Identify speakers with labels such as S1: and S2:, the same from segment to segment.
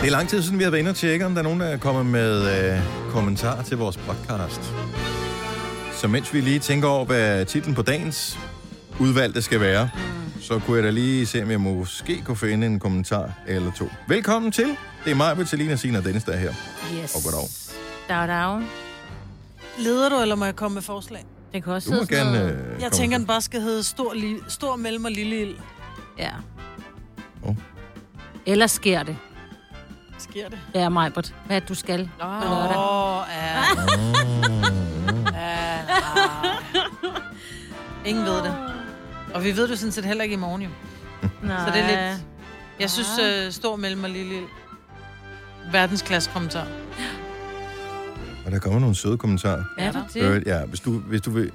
S1: Det er lang tid siden, vi har været inde og tjekke, om der er nogen, der er kommet med øh, kommentarer til vores podcast. Så mens vi lige tænker over, hvad titlen på dagens udvalgte skal være, så kunne jeg da lige se, om jeg måske kunne finde en kommentar eller to. Velkommen til. Det er mig, Vitalina, Signe og Dennis, der er her.
S2: Yes.
S1: Og goddag.
S2: Dag, dag.
S3: Leder du, eller må jeg komme med forslag?
S2: Det kan også
S1: Du må
S2: sidde sådan
S1: gerne...
S2: noget-
S3: Jeg
S1: Øh, komme
S3: tænker,
S1: med.
S3: den bare skal hedde Stor, li- stor Mellem og Lille Ild.
S2: Ja.
S1: Åh.
S2: Eller sker det?
S3: Sker det?
S2: Ja, Majbert. Hvad er det, du skal på lørdag?
S3: Åh, ja. Ja. Ingen ved det. Og vi ved det jo sådan set heller ikke i morgen, jo.
S2: Nej.
S3: Så det er lidt... Jeg synes, øh, Stor Mellem og Lille Ild. Verdensklasse kommentar.
S1: Og der kommer nogle søde kommentarer.
S2: Er du det?
S1: Øh, ja, hvis du, hvis du vil...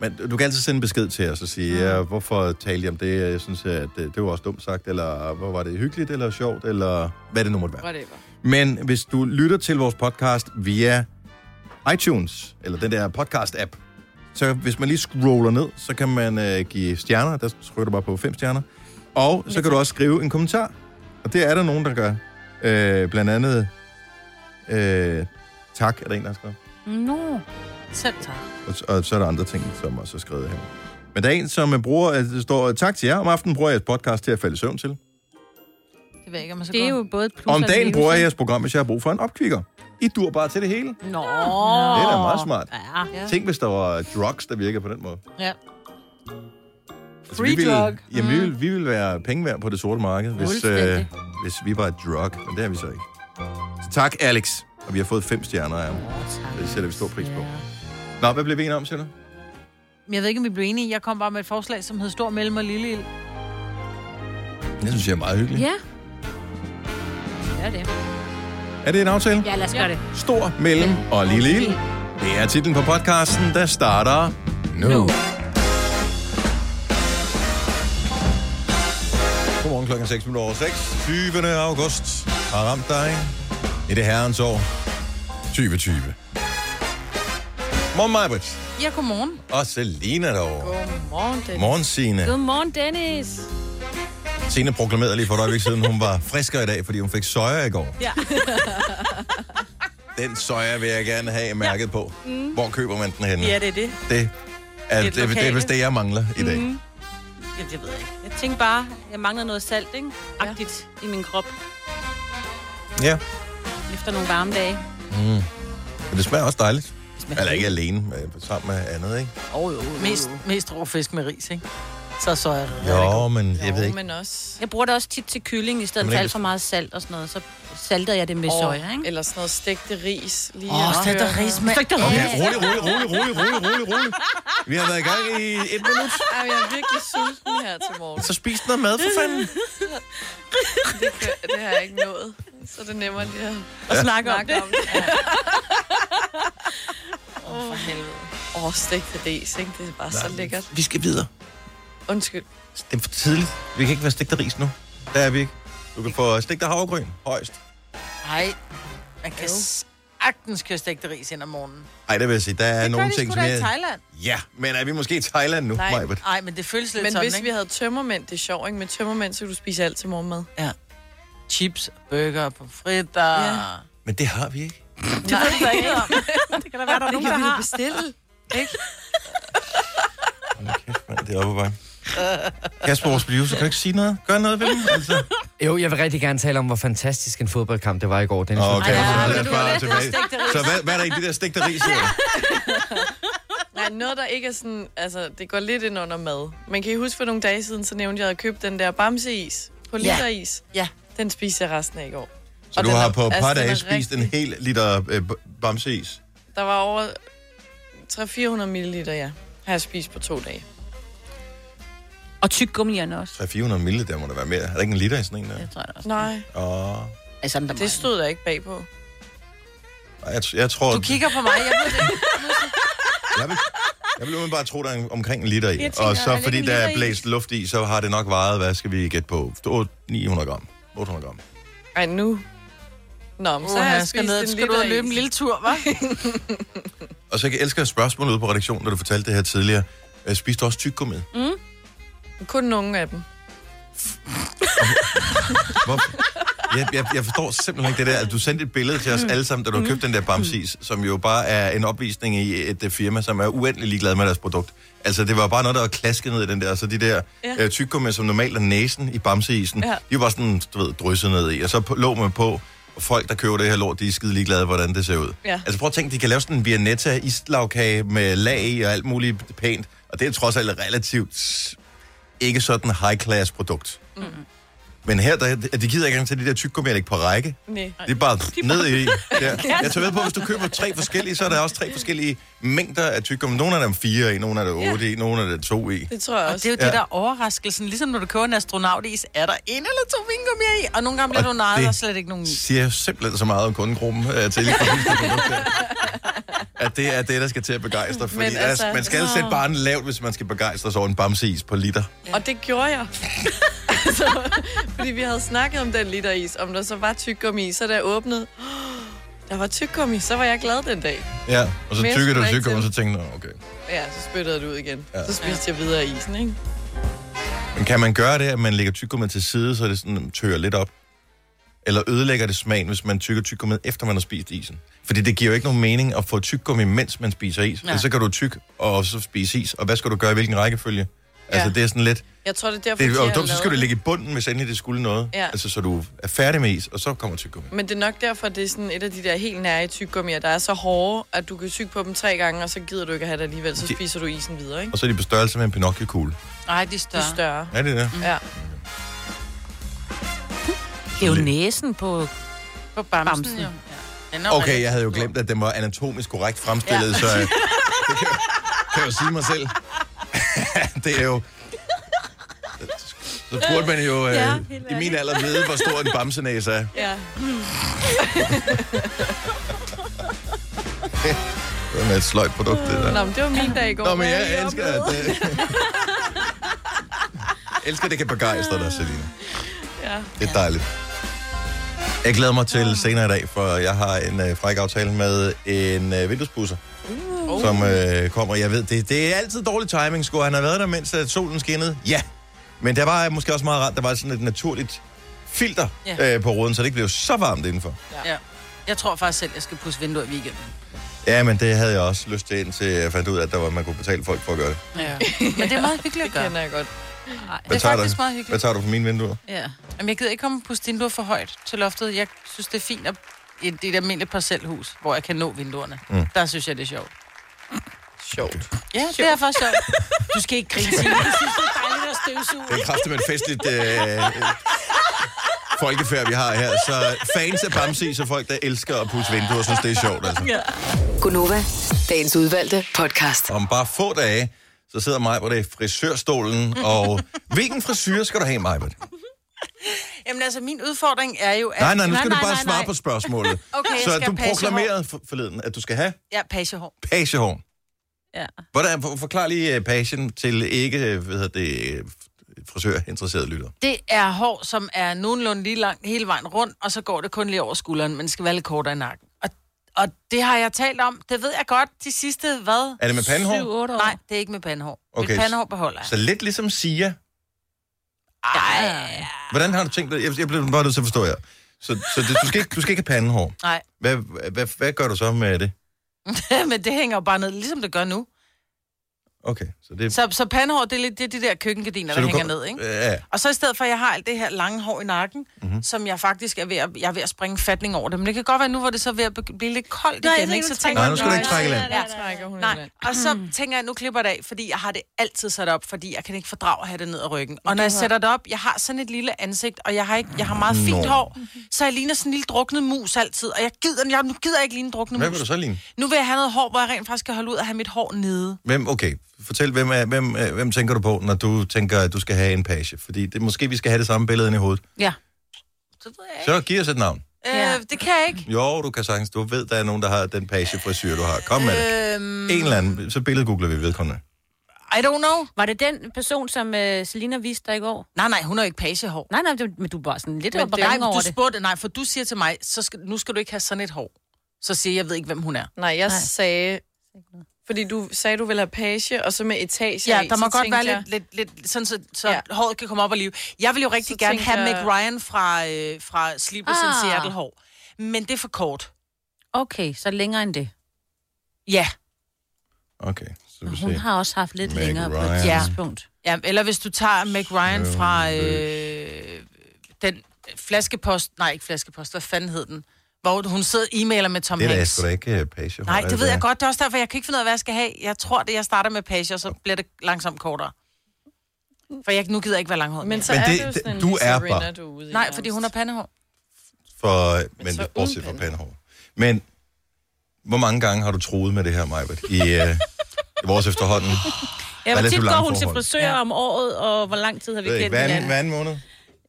S1: Men du kan altid sende en besked til os og sige, mm. ja, hvorfor talte I om det? Jeg synes, at øh, det, det var også dumt sagt, eller hvor var det hyggeligt, eller sjovt, eller hvad det nu måtte være.
S3: Whatever.
S1: Men hvis du lytter til vores podcast via iTunes, eller den der podcast-app, så hvis man lige scroller ned, så kan man øh, give stjerner. Der trykker du bare på fem stjerner. Og så kan du også skrive en kommentar. Og det er der nogen, der gør. Øh, blandt andet... Øh, tak, er der en, der har skrevet.
S2: Nå.
S3: Selv tak.
S1: Og, og så er der andre ting, som også er skrevet her. Men der er en, som øh, bruger, øh, der står, tak til jer, om aftenen bruger jeg jeres podcast til at falde i søvn til.
S3: Det ved jeg ikke, om jeg skal
S2: Det er
S3: gå.
S2: jo både et plus
S1: Og om
S2: og et
S1: dagen
S2: minus,
S1: bruger jeg
S2: ikke?
S1: jeres program, hvis jeg har brug for en opkvikker. I dur bare til det hele. Det
S2: Nå.
S1: er da meget smart.
S2: Ja.
S3: Ja.
S1: Tænk, hvis der var drugs, der virkede på den måde.
S3: Ja.
S1: Altså, vi ville, Jamen, vi ville, vi ville være penge værd på det sorte marked, hvis, øh,
S2: Mm. Fuldstændig.
S1: hvis vi var et drug. Men det er vi så ikke. Så tak, Alex. Og vi har fået fem stjerner af ham. Det sætter vi stor pris på. Nå, hvad blev vi enige om, siger du?
S3: Men jeg ved ikke, om vi blev enige. Jeg kom bare med et forslag, som hed Stor Mellem og Lille Ild.
S1: Det synes jeg er meget hyggeligt.
S2: Ja. Ja, det.
S1: Er det en aftale?
S2: Ja, lad os gøre det.
S1: Stor, mellem og lille ild. Det er titlen på podcasten, der starter nu. nu. Godmorgen klokken 6 minutter over 6. 20. august har ramt dig i det herrens år 2020. Morgen, Majbert.
S3: Ja, godmorgen.
S1: Og Selina derovre.
S3: Godmorgen, det
S1: Morgen, Signe.
S2: Godmorgen, Dennis.
S1: Signe proklamerede lige for et øjeblik siden, hun var friskere i dag, fordi hun fik soja i går.
S3: Ja.
S1: Den soja vil jeg gerne have mærket på. Hvor køber man den henne?
S3: Ja, det er det.
S1: Det er, det,
S3: Et
S1: det, det er
S3: lokale.
S1: vist det, jeg mangler i dag. Mm.
S3: Ja, det ved jeg ikke.
S4: Jeg tænkte bare, jeg mangler noget salt, ikke? Agtigt ja. i min krop
S1: Ja, Mm.
S4: efter nogle varme dage.
S1: men det smager også dejligt. Eller ikke alene, men sammen med andet, ikke?
S3: Mest, mest rå fisk med ris, ikke? Så så er det.
S1: Jo, men jeg ved
S5: Jo,
S1: ikke.
S5: men også...
S4: Jeg bruger det også tit til kylling, i stedet
S1: Jamen,
S4: for
S1: ikke
S4: alt for meget salt og sådan noget. Så salter jeg det med oh. soja, ikke?
S5: Eller sådan noget stegte ris. Lige
S3: Åh,
S5: at
S3: så er der
S5: høre.
S3: ris med...
S4: Stegte
S1: Okay, rolig, rolig, rolig, rolig, rolig, rolig, rolig. Vi har været i gang i et minut.
S5: Ej, jeg er virkelig sulten her til morgen.
S1: Så spis noget mad, for fanden.
S5: Det, kan, det har jeg ikke nået. Så er det er nemmere lige at
S4: og snakker om
S5: snakke
S4: det.
S5: om det. Ja. Åh, for helvede. Åh, stegte ris, ikke? Det er bare så lækkert.
S1: Vi skal videre.
S5: Undskyld.
S1: Det er for tidligt. Vi kan ikke være stegt af ris nu. Der er vi ikke. Du kan få stegt af havregryn, højst.
S3: Nej, man kan sagtens køre stegte ris ind om morgenen.
S1: Ej, det vil jeg sige. Der er
S3: Det
S1: nogle
S3: gør de
S1: ting,
S3: sgu
S1: som
S3: da i
S1: jeg...
S3: Thailand.
S1: Ja, men er vi måske i Thailand nu,
S5: Nej.
S1: Majbet?
S3: Nej, men det føles lidt
S5: Men
S3: sådan,
S5: hvis
S3: ikke?
S5: vi havde tømmermænd, det er sjovt, ikke? Med tømmermænd, så kunne du spise alt til morgenmad.
S3: Chips, burger, pomfritter...
S5: Ja.
S3: Ja.
S1: Men det har vi ikke.
S3: Det ved jeg ikke om. Det kan da være, der er nogen, der
S5: vi da
S3: har.
S5: bestille.
S1: Hold da kæft, mand, det er oppe på vej. Kasper, vores producer, kan du ikke sige noget? Gør noget ved dem, altså.
S6: Jo, jeg vil rigtig gerne tale om, hvor fantastisk en fodboldkamp det var i går. Den
S1: Okay,
S3: Ej,
S1: så
S3: ja,
S1: lad
S3: men
S1: os
S3: du
S1: bare
S3: ved, det er
S1: tilbage.
S3: stegte ris.
S1: Så hvad, hvad er der i det der stegte ris her?
S5: Nej, noget, der ikke er sådan... Altså, det går lidt ind under mad. Men kan I huske, for nogle dage siden, så nævnte jeg, at jeg havde købt den der bamseis på literis.
S3: Ja.
S5: Den spiser jeg resten af i går.
S1: Så
S5: Og
S1: du
S5: den
S1: har
S5: er-
S1: på et par
S5: altså, den
S1: dage
S5: er
S1: spist en
S5: rigtig-
S1: hel liter øh, b- bamseis.
S5: Der var over 300-400 ml, ja. Har jeg spist på to dage.
S4: Og tyggegummierne også.
S1: 300-400 ml, der må der være mere. Er der ikke en liter i sådan en der?
S4: Det tror jeg også.
S5: Nej,
S1: Åh,
S4: Altså, der
S5: det stod der ikke bagpå.
S1: Ej, jeg, jeg tror...
S3: Du kigger på mig, jeg ved det.
S1: Jeg vil, jeg vil bare tro, der er omkring en liter i.
S5: Jeg tænker,
S1: og
S5: der
S1: så
S5: ligger
S1: fordi
S5: en
S1: der
S5: liter
S1: er
S5: i.
S1: blæst luft i, så har det nok vejet, hvad skal vi gætte på? 800 900 gram. 800 gram.
S5: Ej, nu. Nå, men så har
S3: Uha,
S5: jeg
S3: skal
S5: spist
S3: ned,
S5: en
S3: skal du ud
S5: liter
S3: og løbe en
S5: is.
S3: lille tur, hva'?
S1: Og så jeg elsker spørgsmålet ude på redaktionen, da du fortalte det her tidligere. Øh, Spiste du også tyggegummi? Mm.
S5: Kun nogle af dem.
S1: Hvor, Jeg, jeg, jeg forstår simpelthen ikke det der. Altså, du sendte et billede til os alle sammen,
S5: Mm.
S1: da du købte den der bamsis, som jo bare er en opvisning i et øh, firma, som er uendelig ligeglad med deres produkt. Altså, det var bare noget, der var klasket ned i den der, og så de der ja.
S5: Ja.
S1: øh, tyggegummi, som normalt er næsen i bamseisen, ja.
S5: Ja.
S1: de var bare sådan, du ved, drysset ned i, og så på- lå man på, og folk, der køber det her lort, de er skide ligeglade, hvordan det ser ud.
S5: Ja.
S1: Altså prøv at tænke, de kan lave sådan en Vianetta islagkage med lag i og alt muligt pænt, og det er trods alt et relativt s- ikke sådan high-class produkt. Mm. Men her, der, de gider ikke engang til de der tyggegummi, ikke på række.
S5: Nej.
S1: Det er bare ned i. Ja. Jeg tager ved på, hvis du køber tre forskellige, så er der også tre forskellige mængder af tyggegummi. Nogle af dem fire i, nogle af dem otte i, nogle af dem to i.
S5: Det tror jeg
S3: Og det er
S5: også.
S3: jo det,
S1: Ja.
S3: der er overraskelsen. Ligesom når du køber en astronautis, er der en eller to vingummier i, og nogle gange bliver
S1: Og
S3: du nejet,
S1: det-
S3: der er slet ikke nogen i.
S1: Siger simpelthen så meget om kundegruppen øh, til lige præcis det produkt her. at det er det, der skal til at begejstre. Fordi
S5: Men
S1: altså,
S5: altså-
S1: man skal altså sætte barnet lavt, hvis man skal begejstres over en bamseis på liter.
S5: Og det gjorde jeg. altså, fordi vi havde snakket om den literis, om der så var tyggegummi i, så da jeg åbnede, der var tyggegummi, så var jeg glad den dag.
S1: Ja, og så
S5: Men jeg
S1: tykker du
S5: skulle ikke
S1: tykker, og
S5: til.
S1: så tænker du, "Nå, okay.
S5: Ja, så spyttede jeg det ud igen.
S1: Ja.
S5: Ja. Så spiste jeg videre isen, ikke?
S1: Men kan man gøre det, at man lægger tyggegummi til side, så det sådan tørrer lidt op? Eller ødelægger det smagen, hvis man tykker tyggegummi, efter man har spist isen? Fordi det giver jo ikke nogen mening at få tyggegummi, mens man spiser is.
S3: Nej.
S1: Ja. Så kan du tykke og så spise is. Og hvad skal du gøre i hvilken rækkefølge? Altså,
S5: Ja.
S1: det er sådan lidt...
S5: Jeg tror, det er derfor,
S1: Det er
S5: de
S1: jo
S5: har
S1: dumt, så
S5: lavet
S1: skal du ligge i bunden, hvis endelig det skulle noget.
S5: Ja. Mm.
S1: Altså, så du er færdig med is, og så kommer tyggegummi.
S5: Men det er nok derfor, det er sådan et af de der helt nære tyggegummier, der er så hårde, at du kan tygge på dem tre gange, og så gider du ikke at have det alligevel, så
S1: Det-
S5: spiser du isen videre, ikke?
S1: Og så er de på størrelse med en Pinocchio-kugle.
S3: Nej, de
S5: Det er
S3: er større.
S5: større.
S1: Er det det?
S5: Ja.
S4: Det er jo næsen på...
S3: På bamsen,
S4: Bamsen.
S3: bamsen. jo. Ja. Den er
S1: Okay,
S3: rigtig
S1: jeg havde jo
S3: stor.
S1: glemt, at den var anatomisk korrekt fremstillet, ja. så øh, det kan, kan jeg jo sige mig selv. det er jo... Så burde man jo øh, ja, i min alder vide, hvor stor en bamsenæse er.
S5: ja.
S1: Mm. Det er et sløjt produkt, det der.
S5: Nå, men det var min dag i går.
S1: Nå, men
S5: Hvad har I
S1: jeg elsker,
S5: oplevet?
S1: at... Øh, elsker, at det kan begejstre dig, Selina.
S5: Ja.
S1: Det er dejligt. Jeg glæder mig til senere i dag, for jeg har en øh, fræk aftale med en øh, vinduespusser, uh. som øh, kommer. Jeg ved, det, det er altid dårlig timing. Skulle han have været der, mens at solen skinnede? Ja. Men der var måske også meget rart, der var sådan et naturligt filter
S3: Ja.
S1: øh, på ruden, så det ikke blev så varmt indenfor.
S3: Ja. Jeg tror faktisk selv, jeg skal pusse vinduer i weekenden.
S1: Ja, men det havde jeg også lyst til, indtil jeg fandt ud af, at der var, man kunne betale folk for at gøre det.
S3: Ja. Men det er meget hyggeligt
S5: Det
S3: at gøre.
S5: kender jeg godt.
S3: Det er
S1: tager
S3: faktisk
S1: du?
S3: meget
S1: Hvad
S3: hyggeligt.
S1: tager du for mine vinduer?
S3: Ja. Jamen, jeg gider ikke komme og pusse vinduer for højt til loftet. Jeg synes, det er fint at i et, et almindeligt parcelhus, hvor jeg kan nå vinduerne. Mm. Der synes jeg, det er sjovt.
S5: Sjovt.
S3: Ja, det er faktisk sjovt. Du skal ikke grine, Signe. Jeg synes, det er dejligt at støvsuge.
S1: Det er kraftigt med et festligt øh, øh, folkefærd, vi har her. Så fans af Bamsi, så folk, der elsker at pusse vinduer, synes, det er sjovt. Altså.
S7: Gunova, dagens udvalgte podcast.
S1: Om bare få dage, så sidder mig på det i frisørstolen, og hvilken frisyr skal du have, mig?
S3: Jamen altså, min udfordring er jo, at...
S1: Nej, nej, nu skal du
S3: nej,
S1: bare
S3: nej,
S1: svare
S3: nej.
S1: på spørgsmålet.
S3: Okay, jeg
S1: så
S3: skal
S1: du
S3: pagehår.
S1: proklamerede for- forleden, at du skal have
S3: Ja, pagehår.
S1: pagehorn.
S4: Ja.
S1: Hvordan, for- forklar lige øh, pagen til ikke øh, hvad hedder det, øh, frisørinteresserede lyttere.
S3: Det er hår, som er nogenlunde lige langt hele vejen rundt, og så går det kun lige over skulderen, men skal være lidt kortere i nakken. Og, og det har jeg talt om, det ved jeg godt, de sidste, hvad?
S1: Er det med pandehår?
S4: 7-8 år.
S3: Nej, det er ikke med pandehår. Okay.
S1: Okay,
S3: Mit pandehår beholder jeg.
S1: Så lidt ligesom Sia,
S3: Ej,
S1: Hvordan har du tænkt det? Jeg, jeg blev bare nødt til at forstå jer. Så, så det, du, skal ikke, du skal ikke have pandehår.
S3: nej.
S1: Hvad, hvad, hvad, hvad gør du så med det?
S3: men det hænger jo bare ned, ligesom det gør nu.
S1: Okay, så det...
S3: Så, så pandehår, det er, lidt, det er de der køkkengardiner,
S1: så
S3: der
S1: du
S3: hænger
S1: går-
S3: ned, ikke?
S1: Ja,
S3: Og så i stedet for, at jeg har alt det her lange hår i nakken,
S1: Mhm.
S3: mm-hmm. som jeg faktisk er ved at, jeg er ved at springe fatning over det. Men det kan godt være nu, hvor det så er ved at be- blive lidt koldt
S4: Nej,
S3: igen,
S4: jeg
S3: ikke? Så
S4: tænker,
S3: tænker
S1: Nej,
S3: jeg,
S1: nu skal du ikke trække land.
S5: Ja, trækker hun
S3: Nej,
S5: ind.
S3: og så tænker jeg, nu klipper jeg det af, fordi jeg har det altid sat op, fordi jeg kan ikke fordrage at have det ned ad ryggen. Og når jeg sætter det op, jeg har sådan et lille ansigt, og jeg har, ikke, jeg har meget fint
S1: Nå.
S3: hår, så jeg ligner sådan en lille druknet mus altid, og jeg gider, jeg, nu gider jeg ikke ligne en druknet
S1: Hvad
S3: mus.
S1: vil du så ligne?
S3: Nu vil jeg have noget hår, hvor jeg rent faktisk kan holde ud og have mit hår nede.
S1: Hvem, okay, fortæl, hvem, er, hvem, er- hvem tænker du på, når du tænker, at du skal have en page? Fordi det, måske vi skal have det samme billede inde i hovedet.
S3: Ja. Så ved jeg ikke.
S1: Så giv os et navn.
S3: Ja. Øh, det kan jeg ikke.
S1: Jo, du kan sagtens. Du ved, der er nogen, der har den page frisyr, du har. Kom med det.
S3: Øhm,
S1: En eller anden. Så billedgoogler vi vedkommende.
S3: I don't know.
S4: Var det den person, som uh, Selina viste dig i går?
S3: Nej, nej, hun har jo ikke pagehår.
S4: Nej, nej, det- men du var sådan lidt
S5: Men
S4: op og
S5: det er
S3: Nej,
S4: gang
S3: men
S4: over
S3: du
S4: det.
S3: spurgte, nej, for du siger til mig, så skal, nu skal du ikke have sådan et hår. Så siger jeg, jeg ved ikke, hvem hun er.
S5: Nej, jeg sagde, Fordi du sagde, du ville have page, og så med etage
S3: Ja,
S5: i,
S3: der må
S5: så
S3: godt
S5: tænkte
S3: være
S5: jeg-
S3: lidt, lidt, lidt sådan, så, så
S5: Ja.
S3: ja. håret kan komme op og live. Jeg vil jo rigtig
S5: Så
S3: gerne
S5: tænkte
S3: have
S5: jeg-
S3: Meg Ryan fra, øh, fra Sleepless ah. in
S2: Ah.
S3: Seattle hår. Men det er for kort.
S2: Okay, så længere end det.
S3: Ja.
S1: Okay, så vi
S2: Hun
S1: se.
S2: har også haft lidt
S1: Meg
S2: længere på et
S1: Ryan.
S3: Ja.
S2: tidspunkt.
S3: ja. Eller hvis du tager Meg Ryan
S1: Søvnløs.
S3: fra øh, den flaskepost... Nej, ikke flaskepost. Hvad fanden hed den? Hvor hun sidder og e-mailer med Tom
S1: Det er da
S3: Hanks.
S1: sgu da ikke øh, page.
S3: Nej, det ved jeg godt. Det er også derfor, jeg kan ikke finde ud af, hvad jeg skal have. Jeg tror, det jeg starter med page, og så bliver det langsomt kortere. For jeg, nu gider jeg ikke være langhåret
S5: Men
S3: Men
S5: så
S1: Men
S5: er
S1: det-
S5: det, jo
S1: det-
S5: sådan en
S1: du
S5: Lisa
S1: er
S5: Rinna,
S1: bare-
S5: du er ude i
S3: Nej, fordi
S5: nærmest.
S3: hun har pandehår.
S1: For, men,
S5: så
S1: men
S5: uden
S1: bortset fra
S5: pande.
S1: pandehår. Men hvor mange gange har du troet med det her, Majbert, i, øh, i vores efterhånden?
S4: Ja, hvor
S1: Relativt
S4: tit går
S1: lange
S4: hun til
S1: forhold.
S4: frisør om året, og hvor lang tid har vi
S1: Ved ikke,
S4: kendt
S1: hver, anden,
S4: hinanden?
S1: hver anden måned?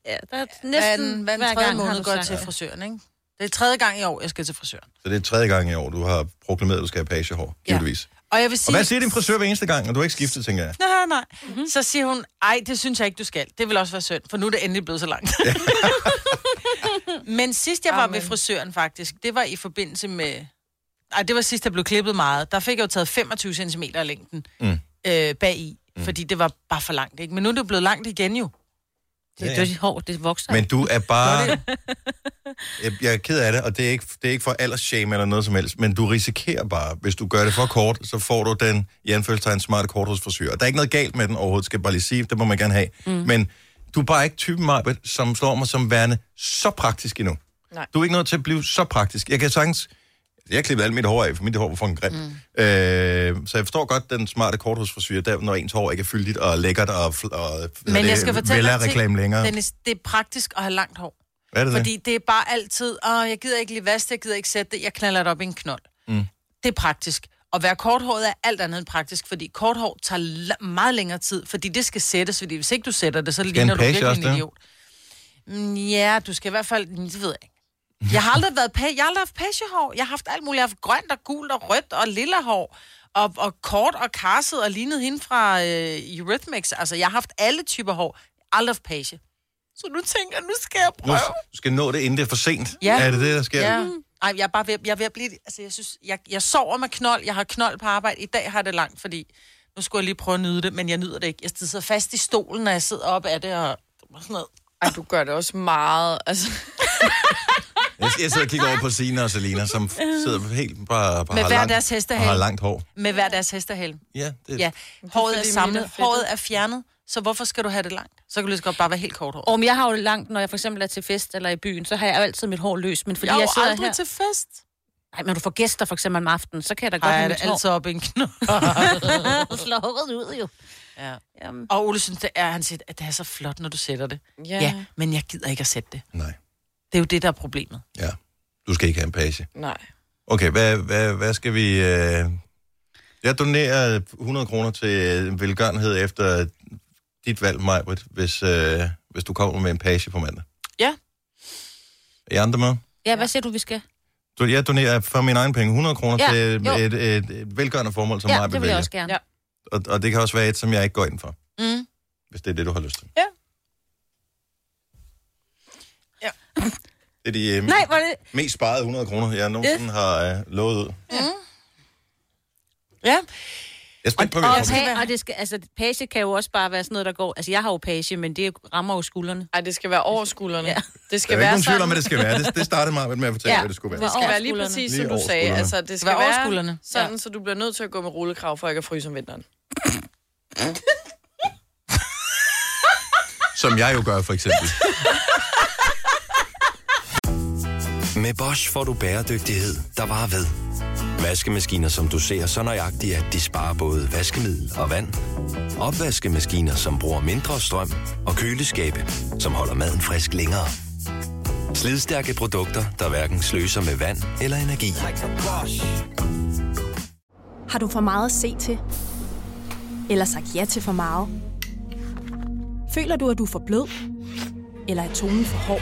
S4: Ja, der er næsten
S3: Hvad er den, hvad er den
S4: hver
S3: tredje
S4: gang, har
S3: måned
S4: du
S3: går jeg
S4: sagt.
S3: til frisøren, ikke? Det er tredje gang i år, jeg skal til frisøren.
S1: Så det er tredje gang i år, du har proklameret, at du skal have pagehår,
S3: Ja.
S1: givetvis. Ja.
S3: Og jeg vil
S1: Og
S3: sige...
S1: hvad siger din frisør hver eneste gang, og du har ikke skiftet, tænker jeg?
S3: Nej, nej, nej. Mm-hmm. Så siger hun, ej, det synes jeg ikke, du skal. Det vil også være synd, for nu er det endelig blevet så langt. Men sidst jeg var Amen. ved frisøren faktisk, det var i forbindelse med... Ej, det var sidst, jeg blev klippet meget. Der fik jeg jo taget 25 cm af længden
S1: Mm.
S3: øh, bagi, mm. fordi det var bare for langt, ikke? Men nu er det jo blevet langt igen jo.
S1: Ja,
S2: Det,
S1: ja.
S2: det hår, det vokser.
S1: Men du er bare...
S3: Gør
S1: jeg, jeg er ked af det, og det er ikke, det er ikke for aldersshame eller noget som helst, men du risikerer bare, hvis du gør det for kort, så får du den i anførselstegn smarte kort hos frisør. Og der er ikke noget galt med den overhovedet, skal jeg bare lige sige, det må man gerne have. Mm. Men du er bare ikke typen, Marbet, som slår mig som værende så praktisk endnu.
S5: Nej.
S1: Du er ikke nødt til at blive så praktisk. Jeg kan sagtens... Jeg klippede alt mit hår af, for mit hår var fucking grimt. Mm. Øh, så jeg forstår godt den smarte kort hos frisyrer, der, når ens hår ikke er fyldigt og lækkert og, fl- og
S3: Men jeg skal fortælle dig en ting,
S1: reklame længere.
S3: Dennis, det er praktisk at have langt hår.
S1: er det
S3: Fordi det er bare altid, åh, jeg gider ikke lige vaske det, jeg gider ikke sætte det, jeg knaller det op i en knold. Mm. Det er praktisk. Og være korthåret er alt andet end praktisk, fordi korthår tager la- meget længere tid, fordi det skal sættes, fordi hvis ikke du sætter det, så ligner
S1: en
S3: du
S1: page
S3: virkelig
S1: også
S3: en
S1: det?
S3: idiot. Mm, Ja, du skal i hvert fald, det ved jeg ikke. Jeg har aldrig været pæ- jeg har aldrig haft pagehår. Jeg har haft alt muligt. Jeg har haft grønt og gult og rødt og lilla hår. Og, og kort og karset og lignet hende fra øh, Eurythmics. Altså, jeg har haft alle typer hår. Aldrig haft page. Så nu tænker jeg, nu skal jeg
S1: Nu
S3: prøve.
S1: du skal nå det, inden det er for sent.
S3: Ja.
S1: Er det det, der sker?
S3: Ja. Ej, jeg er bare ved, jeg er ved at blive... Altså, jeg synes, jeg, jeg sover med knold. Jeg har knold på arbejde. I dag har jeg det langt, fordi nu skulle jeg lige prøve at nyde det, men jeg nyder det ikke. Jeg sidder fast i stolen, når jeg sidder op af det og og sådan noget.
S5: Ej, du gør det også meget. Altså,
S1: Jeg, jeg sidder og kigger over på Sina og Selina, som f- sidder helt bare, bare
S3: Med
S1: har
S3: hver
S1: langt,
S3: deres hestehale.
S1: og har langt hår.
S3: Med hver deres hestehælm.
S1: Ja, det,
S3: Ja,
S1: ja.
S3: håret er
S5: fordi, mit er
S3: samlet,
S5: fedtet.
S3: håret er fjernet, så hvorfor skal du have det langt? Så kan du lige så godt bare være helt kort hår.
S4: Om jeg har jo langt, når jeg for eksempel er til fest eller i byen, så har jeg jo altid mit hår løst. Men fordi
S3: Jeg er
S4: jeg,
S3: jo
S4: sidder
S3: aldrig
S4: her...
S3: til fest.
S4: Nej, men når du får gæster for eksempel om aftenen, så kan jeg da godt
S3: Ej, er
S4: have
S3: det
S4: mit hår.
S3: altid op i en knold.
S4: slå håret ud jo.
S3: Ja.
S4: Jamen.
S3: Og Ole synes, det er, han siger, at det er så flot, når du sætter det.
S5: ja.
S3: Ja, men jeg gider ikke at sætte det.
S1: Nej,
S3: Det er jo det, der er problemet.
S1: ja. Du skal ikke have en page.
S5: Nej.
S1: Okay, hvad, hvad, hvad skal vi... Øh... Jeg donerer 100 kroner til øh, velgørenhed efter dit valg, Majbrit, hvis, øh, hvis du kommer med en page på mandag.
S3: Ja.
S1: Er I andre med?
S4: Ja, hvad siger du, vi skal?
S1: Du, jeg donerer for min egen penge 100 kroner
S4: Ja,
S1: ja, til
S4: jo.
S1: et, et, et velgørende formål, som
S4: ja,
S1: Majbrit
S4: det vil
S1: vælger.
S4: jeg også
S5: Ja.
S4: gerne. Ja.
S1: Og, og det kan også være et, som jeg ikke går ind for.
S3: Mm.
S1: Hvis det er det, du har lyst til.
S5: Ja.
S3: Ja.
S1: Det er de øh,
S4: Nej, var det...
S1: mest sparede 100 kroner, jeg nogensinde har øh, lovet ud.
S3: Ja,
S1: Jeg er spændt på,
S4: Og,
S1: hvad jeg
S4: page, og det skal, altså, page kan jo også bare være sådan noget, der går... Altså, jeg har jo page, men det rammer jo skuldrene.
S5: Ej, det skal være over skuldrene.
S4: Ja.
S5: Det
S1: Der
S5: skal
S1: er ikke
S5: være
S1: nogen tvivl om,
S5: sådan.
S1: hvad det skal være. Det, det startede meget med at fortælle, ja.
S4: Ja.
S1: hvad det skulle være.
S5: Det skal
S4: Over
S5: være lige
S4: skuldrene.
S5: præcis,
S1: Lige
S5: som du
S1: over
S5: sagde.
S1: skuldrene.
S5: Altså, det skal
S3: være over
S5: være
S3: skuldrene.
S5: sådan, så du bliver nødt til at gå med rullekrav for ikke at fryse om vinteren.
S1: Som jeg jo gør, for eksempel.
S8: Med Bosch får du bæredygtighed, der varer ved. Vaskemaskiner, som du ser så nøjagtigt, at de sparer både vaskemiddel og vand. Opvaskemaskiner, som bruger mindre strøm. Og køleskabe, som holder maden frisk længere. Slidstærke produkter, der hverken sløser med vand eller energi.
S9: Har du for meget at se til? Eller sagt ja til for meget? Føler du, at du er for blød? Eller er tonen for hård?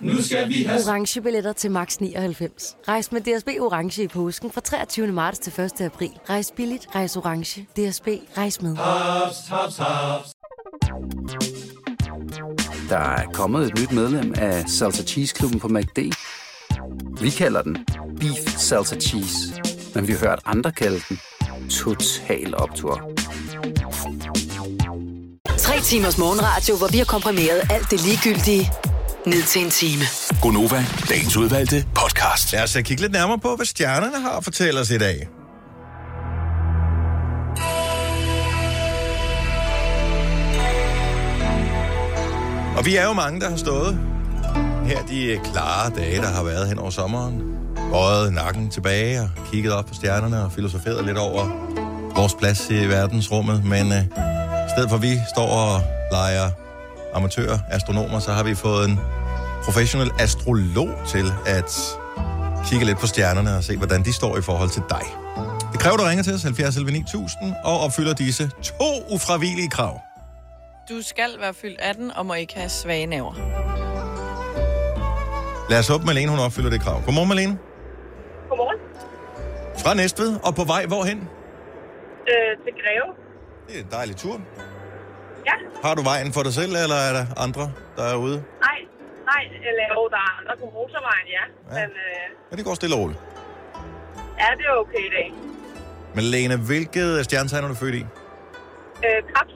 S10: Nu skal vi have...
S11: orange billetter til max 99. Rejs med DSB orange i påsken fra 23. marts til 1. april. Rejs billigt, rejs orange. DSB rejs med.
S10: Haps, haps, haps.
S12: Der er kommet et nyt medlem af Salsa Cheese Klubben på MACD. Vi kalder den Beef Salsa Cheese, men vi har hørt andre kalde den Total Optor.
S7: Tre timers morgenradio, hvor vi har komprimeret alt det ligegyldige ned til en time.
S1: Gonova, dagens udvalgte podcast. Lad os øh, kigge lidt nærmere på, hvad stjernerne har at fortælle os i dag. Og vi er jo mange, der har stået her de øh, klare dage, der har været hen over sommeren. Bøjet nakken tilbage og kigget op på stjernerne og filosoferet lidt over vores plads i verdensrummet. Men øh, i stedet for at vi står og leger amatører, astronomer, så har vi fået en professionel astrolog til at kigge lidt på stjernerne og se, hvordan de står i forhold til dig. Det kræver, at du ringer til os 70 11 9000 og opfylder disse to ufravigelige krav.
S5: Du skal være fyldt 18 og må ikke have svage naver.
S1: Lad os håbe, Malene hun opfylder det krav. Godmorgen, Malene.
S13: Godmorgen.
S1: Fra Næstved og på vej hvorhen?
S13: Øh, til Greve.
S1: Det er en dejlig tur.
S13: Ja.
S1: Har du vejen for dig selv, eller er der andre, der er ude?
S13: Nej, nej, eller jo, der er andre på motorvejen, ja.
S1: Ja.
S13: Men øh,
S1: Men det går stille og roligt.
S13: ja, det er okay i dag.
S1: Malene, hvilket stjernetegn er du født i?
S13: Øh, krebs.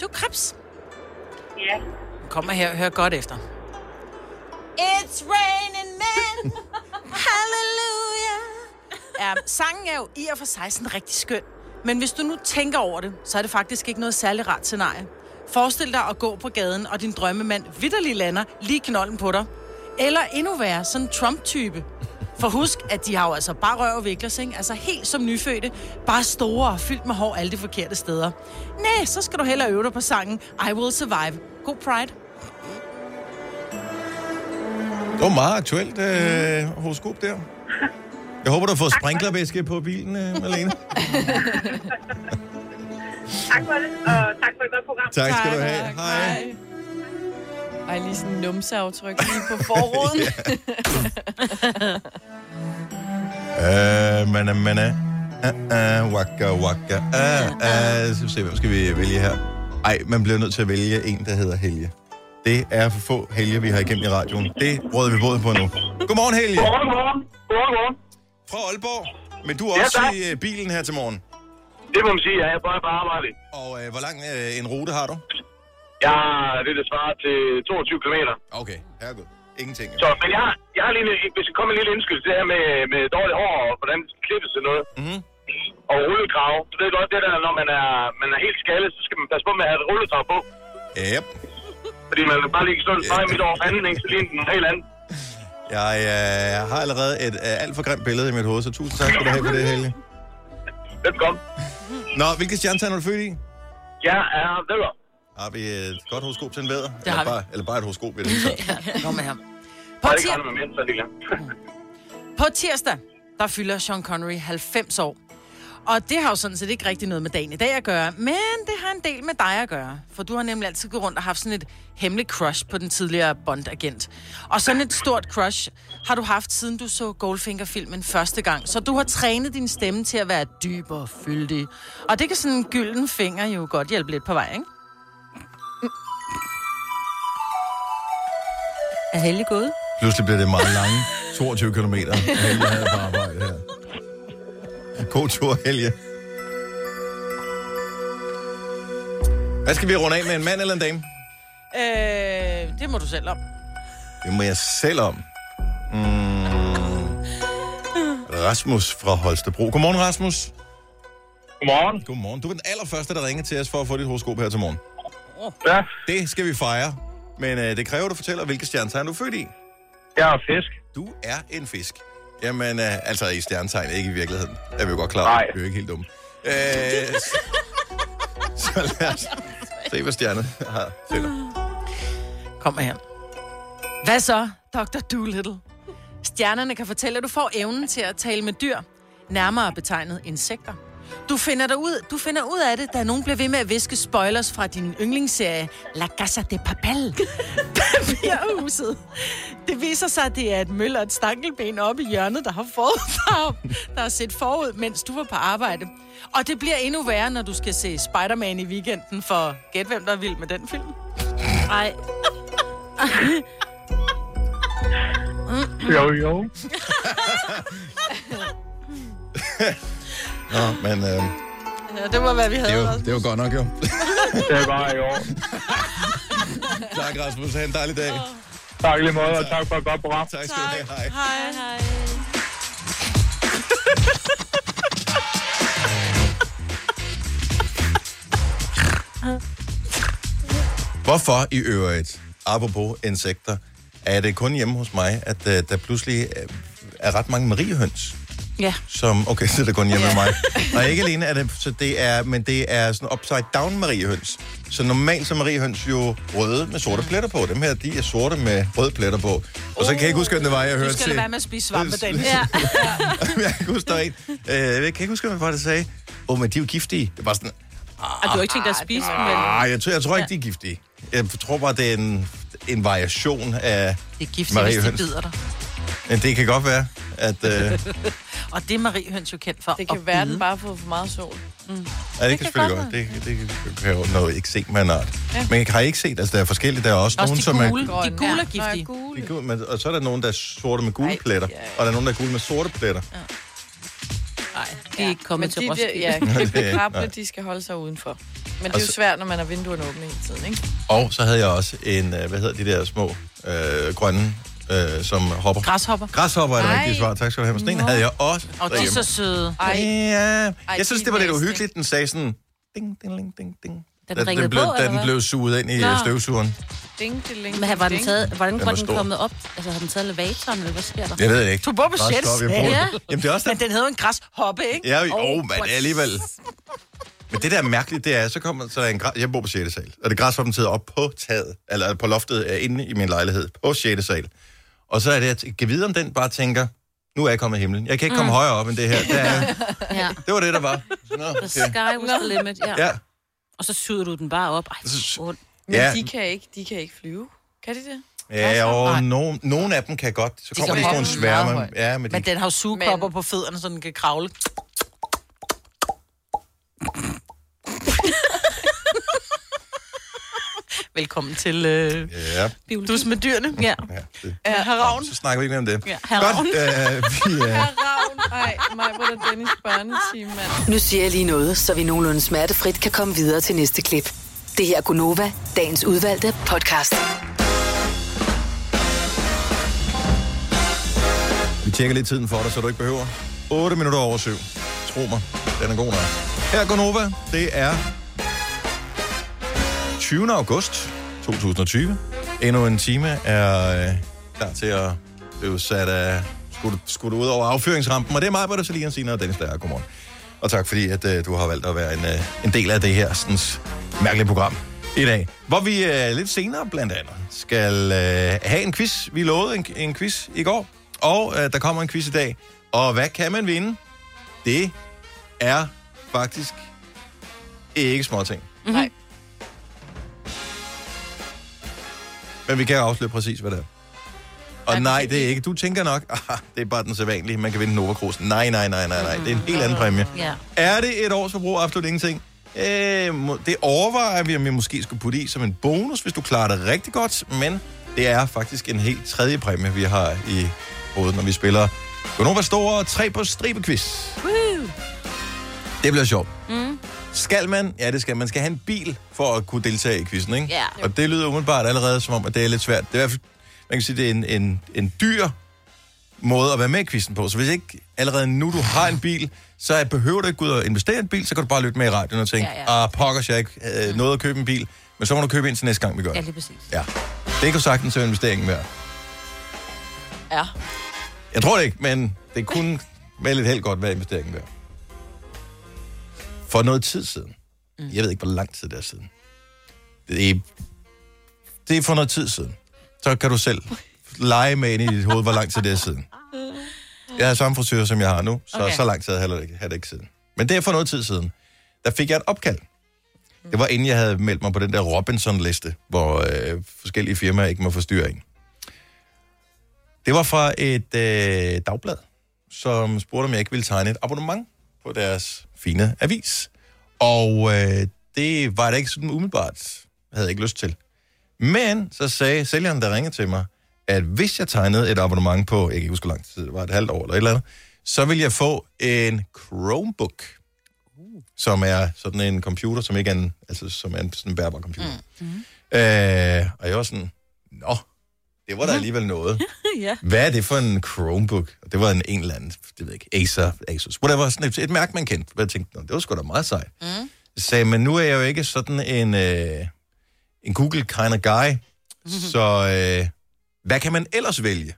S3: Du er krebs?
S13: Ja.
S3: Kom her og hør godt efter. It's raining men, hallelujah. Ja, sangen er jo i og for sig sådan rigtig skøn. Men hvis du nu tænker over det, så er det faktisk ikke noget særlig rart scenarie. Forestil dig at gå på gaden, og din drømmemand vidderlig lander lige knolden på dig. Eller endnu værre, sådan en Trump-type. For husk, at de har jo altså bare røv og viklers, ikke? Altså helt som nyfødte. Bare store og fyldt med hår alle de forkerte steder. Næh, så skal du hellere øve dig på sangen I Will Survive. God Pride.
S1: Det var meget aktuelt øh, horoskop der. Jeg håber, du har fået sprinklervæske på bilen, øh, Malene.
S13: Tak for det, og tak for et godt program.
S1: Tak skal du have. Hej.
S5: Ej, lige sådan en numseaftryk lige på forruden.
S1: Øh, men, øh, men, øh, øh, øh, waka, waka, øh, øh. Så vi se, hvem skal vi vælge her? Ej, man bliver nødt til at vælge en, der hedder Helge. Det er for få Helge, vi har igennem i radioen. Det råder vi både på nu. Godmorgen, Helge.
S14: Godmorgen, godmorgen. Godmorgen,
S1: Fra Aalborg. Men du er også
S14: Ja, tak.
S1: i øh, bilen her til morgen.
S14: Det må man sige, ja. Jeg er bare på arbejde.
S1: Og øh, hvor lang øh, en rute har du?
S14: Jeg har det, der svarer til 22 km.
S1: Okay, herregud. Ingenting.
S14: Så, men jeg, har- jeg har lige, en- hvis jeg kommer en lille indskydelse, det her med, med dårligt hår og hvordan klippes sådan noget.
S1: Mm-hmm.
S14: Og rullekrav. Du ved godt, det der, når man er, man er helt skaldet, så skal man passe på med at have et rullekrav på.
S1: Yep.
S14: Fordi man kan bare lige sådan yeah. midt over panden, ikke? Så lige en helt anden.
S1: Jeg øh, har allerede et øh, alt for grimt billede i mit hoved, så tusind tak skal du have for det, Helge.
S14: Velkommen.
S1: Nå, hvilke stjernetegn er du født i?
S14: Jeg er vedder.
S1: Har vi et godt horoskop til en vædder?
S14: Det har
S1: eller, bare, eller bare et horoskop, ved det hele taget?
S3: Nå med ham.
S14: På det gør det med mindre, det
S3: På tirsdag, der fylder Sean Connery 90 år. Og det har jo sådan set ikke rigtig noget med dagen i dag at gøre, men det har en del med dig at gøre. For du har nemlig altid gået rundt og haft sådan et hemmeligt crush på den tidligere Bond-agent. Og sådan et stort crush har du haft, siden du så Goldfinger-filmen første gang. Så du har trænet din stemme til at være dyb og fyldig. Og det kan sådan en gylden finger jo godt hjælpe lidt på vej, ikke? Er heldig gået?
S1: Pludselig bliver det meget lange 22 km. Helge havde på arbejde her. God tur, Helge. Hvad skal vi runde af med, en mand eller en dame?
S3: Øh, det må du selv om.
S1: Det må jeg selv om. Mm. Rasmus fra Holstebro. Godmorgen, Rasmus.
S14: Godmorgen.
S1: Godmorgen. Du er den allerførste, der ringer til os for at få dit horoskop her til morgen.
S14: Ja.
S1: Det skal vi fejre. Men øh, det kræver, at du fortæller, hvilke stjernetegn du er født i.
S14: Jeg er fisk.
S1: Du er en fisk. Jamen, øh, altså i stjernetegn, ikke i virkeligheden. Er vi jo godt klar over. Vi er jo ikke helt dumme. Øh, så, så lad os se, hvad stjerne har til dig.
S3: Kom her. Hvad så, Dr. Doolittle? Stjernerne kan fortælle, at du får evnen til at tale med dyr, nærmere betegnet insekter. Du finder, dig ud, du finder ud af det, da nogen bliver ved med at viske spoilers fra din yndlingsserie La Casa de Papel. Papirhuset. Det viser sig, at det er et møl og et stankelben oppe i hjørnet, der har, forud, der har set forud, mens du var på arbejde. Og det bliver endnu værre, når du skal se Spider-Man i weekenden, for gæt hvem, der er vild med den film. Nej.
S14: Jo, jo.
S1: Nå, men øh,
S3: Ja, det var, hvad vi
S1: det,
S3: havde.
S1: var, det var godt nok jo.
S14: det var jo.
S1: tak, Rasmus. Ha' en dejlig dag.
S14: Tak lige måde, og tak for et godt program.
S1: Tak skal du have. Hej.
S3: Hej, hej.
S1: Hvorfor i øvrigt, apropos insekter, er det kun hjemme hos mig, at øh, der pludselig øh, er ret mange mariehøns?
S2: Ja.
S1: Som, okay, så er det kun hjemme yeah. mig. Og ikke alene er det, så det er, men det er sådan upside down mariehøns. Så normalt så er mariehøns jo røde med sorte pletter på. Dem her, de er sorte med røde pletter på. Og så kan jeg ikke huske, hvem det var, jeg
S3: Du
S1: hørte
S3: skal
S1: til.
S3: lade være med at spise svampe, Dennis.
S1: Ja. jeg kan huske, der var en. Øh, jeg kan ikke huske, hvem det var, der sagde, åh, oh, men de er jo giftige. Det var sådan,
S4: Og Ah, du har ikke tænkt dig at spise dem, vel?
S1: ah, jeg tror, jeg tror ikke, de er giftige. Jeg tror bare, det er en, en variation af
S3: Det er giftigt, hvis de bider dig.
S1: Men det kan godt være, at... Øh, er det
S3: Og det er Marie Høns jo kendt for.
S5: Det kan være, den bare får for meget sol. Mm.
S1: kan selvfølgelig godt. Det, det kan selvfølgelig godt være noget eksem af en art.
S5: Ja.
S1: Men har I ikke set, altså der er forskellige, der er også,
S5: Også
S1: nogen,
S5: de
S1: som er...
S5: gule.
S1: De
S3: De gule er giftige.
S1: er gule, men, og så er der nogen, der er sorte med gule pletter, og der er nogen, der er gule med sorte pletter.
S2: Nej, det er ikke kommet
S5: Men
S2: til
S5: de der,
S2: Roskilde.
S5: ja,
S1: Det er- nej.
S5: krabbe, de skal holde sig udenfor. Men det er
S1: så-
S5: jo svært, når man har vinduerne åbne hele tiden, ikke?
S1: Og så havde jeg også en, øh, hvad hedder de der små øh, grønne, øh, som hopper.
S3: Græshopper.
S1: Græshopper er det
S3: Ej.
S1: rigtige svar. Tak skal du have. Men Sådan en havde jeg også
S3: Og de er så
S1: derhjemme.
S3: søde.
S1: Ej. Ja. Jeg synes,
S3: de
S1: det var lidt
S3: næste.
S1: uhyggeligt. Den sagde sådan... Ding, ding, ding, ding, ding.
S2: Da den
S1: Da
S2: ringede
S1: blev,
S2: på,
S1: da
S2: eller
S1: den
S2: hvad?
S1: blev suget ind i
S2: Nå.
S1: Nå. støvsugeren.
S5: Ding, ding, ding,
S2: Men her var den
S5: ding.
S2: taget, hvordan
S1: Den
S2: var
S1: var
S2: den
S1: stor.
S2: kommet op? Altså, har den taget elevatoren, eller hvad sker der?
S1: Jeg ved det ikke.
S2: Du bor på
S1: Græshopper,
S2: Sjælsand.
S1: jeg
S2: Ja.
S1: bor- Jamen, det er også
S3: Men den hedder jo en græshoppe, ikke?
S1: Ja, jo, oh, men alligevel. Men det der er mærkeligt, det er, så kommer så er en græs... Jeg bor på 6. sal, og det græshoppen sidder op på taget, eller på loftet øh, inde i min lejlighed, på 6. sal. Og så er det, at jeg kan vide, om den bare tænker, nu er jeg kommet i himlen. Jeg kan ikke komme
S2: Mm.
S1: højere op end det her. Det, er,
S2: Ja.
S1: det var det, der var. Nå,
S2: The sky was the limit, ja.
S1: Ja.
S2: Og så syder du den bare op. Ej, det er ondt.
S5: Men
S1: Ja.
S5: de, kan ikke, de kan ikke flyve. Kan de det?
S1: Ja, og nogen, nogen af dem kan godt. Så
S3: De
S1: kommer de
S3: kan
S1: i sådan nogle
S3: hoppe meget
S1: sværme.
S3: højt.
S1: Ja, men de,
S3: Men den har jo sugekopper på fødderne, så den kan kravle. Velkommen til øh,
S1: ja.
S3: Dus med dyrene. Ja. ja. Haravn.
S1: Så snakker vi ikke mere om det.
S3: Ja,
S1: Godt,
S3: haravn.
S1: øh, vi, øh,
S5: Ravn. Ej, mig var der Dennis børneteam, mand.
S7: Nu siger jeg lige noget, så vi nogenlunde smertefrit kan komme videre til næste klip. Det her er Gunova, dagens udvalgte podcast.
S1: vi tjekker lidt tiden for dig, så du ikke behøver. 8 minutter over 7. Tro mig, den er god nok. Her er Gonova. Det er 20. august 2020. Endnu en time er øh, klar til at blive sat af skudt, skudt ud over afføringsrampen. Og det er mig, Britta Selina, Sina og Dennis Lager. Godmorgen. Og tak fordi, at øh, du har valgt at være en, øh, en del af det her sådan, mærkelige program i dag. Hvor vi øh, lidt senere blandt andet skal øh, have en quiz. Vi lovede en, en quiz i går, og øh, der kommer en quiz i dag. Og hvad kan man vinde? Det er faktisk ikke småting.
S3: Mhm.
S5: Nej.
S1: Men vi kan afsløre præcis, hvad det er. Og nej, det er ikke. Du tænker nok, ah, det er bare den sædvanlige, man kan vinde en Nova Cruz. Nej, nej, nej, nej, nej. Det er en helt anden præmie.
S2: Ja.
S1: Er det et års forbrug? Absolut ingenting. Øh, må- det overvejer vi, om vi måske skulle putte i som en bonus, hvis du klarer det rigtig godt, men det er faktisk en helt tredje præmie, vi har i hovedet, når vi spiller Gonova Store 3 på stribe quiz.
S2: Woo!
S1: Det bliver sjovt.
S2: Mm.
S1: Skal man? Ja, det skal man. Man skal have en bil for at kunne deltage i quizzen, ikke?
S2: Ja.
S1: Og det lyder umiddelbart allerede som om, at det er lidt svært. Det er i hvert fald, man kan sige, det er en, en, en dyr måde at være med i quizzen på. Så hvis ikke allerede nu du har en bil, så er- behøver du ikke gå ud og investere i en bil, så kan du bare lytte med i radioen og tænke,
S2: Ja,
S1: ja,
S2: ja.
S1: ah, pokkers, jeg ikke øh, noget at købe en bil, men så må du købe en til næste gang, vi gør
S2: Ja,
S1: det.
S2: lige præcis.
S1: Ja. Det kan sagtens være investeringen værd.
S5: Ja.
S1: Jeg tror det ikke, men det kunne med lidt held godt være investeringen værd. For noget tid siden. Mm. Jeg ved ikke, hvor lang tid det er siden. Det er, det er for noget tid siden. Så kan du selv lege med ind i dit hoved, hvor lang tid det er siden. Jeg har samme frisør, som jeg har nu, så
S2: Okay.
S1: okay. så lang tid har jeg heller ikke, har det ikke siden. Men det er for noget tid siden. Der fik jeg et opkald. Det var inden jeg havde meldt mig på den der Robinson-liste, hvor øh, forskellige firmaer ikke må forstyrre en. Det var fra et øh, dagblad, som spurgte, om jeg ikke ville tegne et abonnement på deres fine avis. Og øh, det var jeg da ikke sådan umiddelbart, havde jeg ikke lyst til. Men så sagde sælgeren, der ringede til mig, at hvis jeg tegnede et abonnement på, jeg kan ikke huske, hvor lang tid det var, et halvt år eller et eller andet, så ville jeg få en Chromebook, som er sådan en computer, som ikke er en, altså, som er en sådan en bærbar computer. Mm. Øh, og jeg var sådan, nå, det var da alligevel noget.
S4: ja.
S1: Hvad er det for en Chromebook? Og Det var en, en eller anden, det ved jeg ikke, Acer, Asus, whatever, sådan et, et mærke, man kendte. Hvad jeg tænkte, nå, det var sgu da meget sejt. Mm. Så sagde, jeg, men nu er jeg jo ikke sådan en, øh, en Google kind of guy,
S3: Mhm.
S1: så øh, hvad kan man ellers vælge?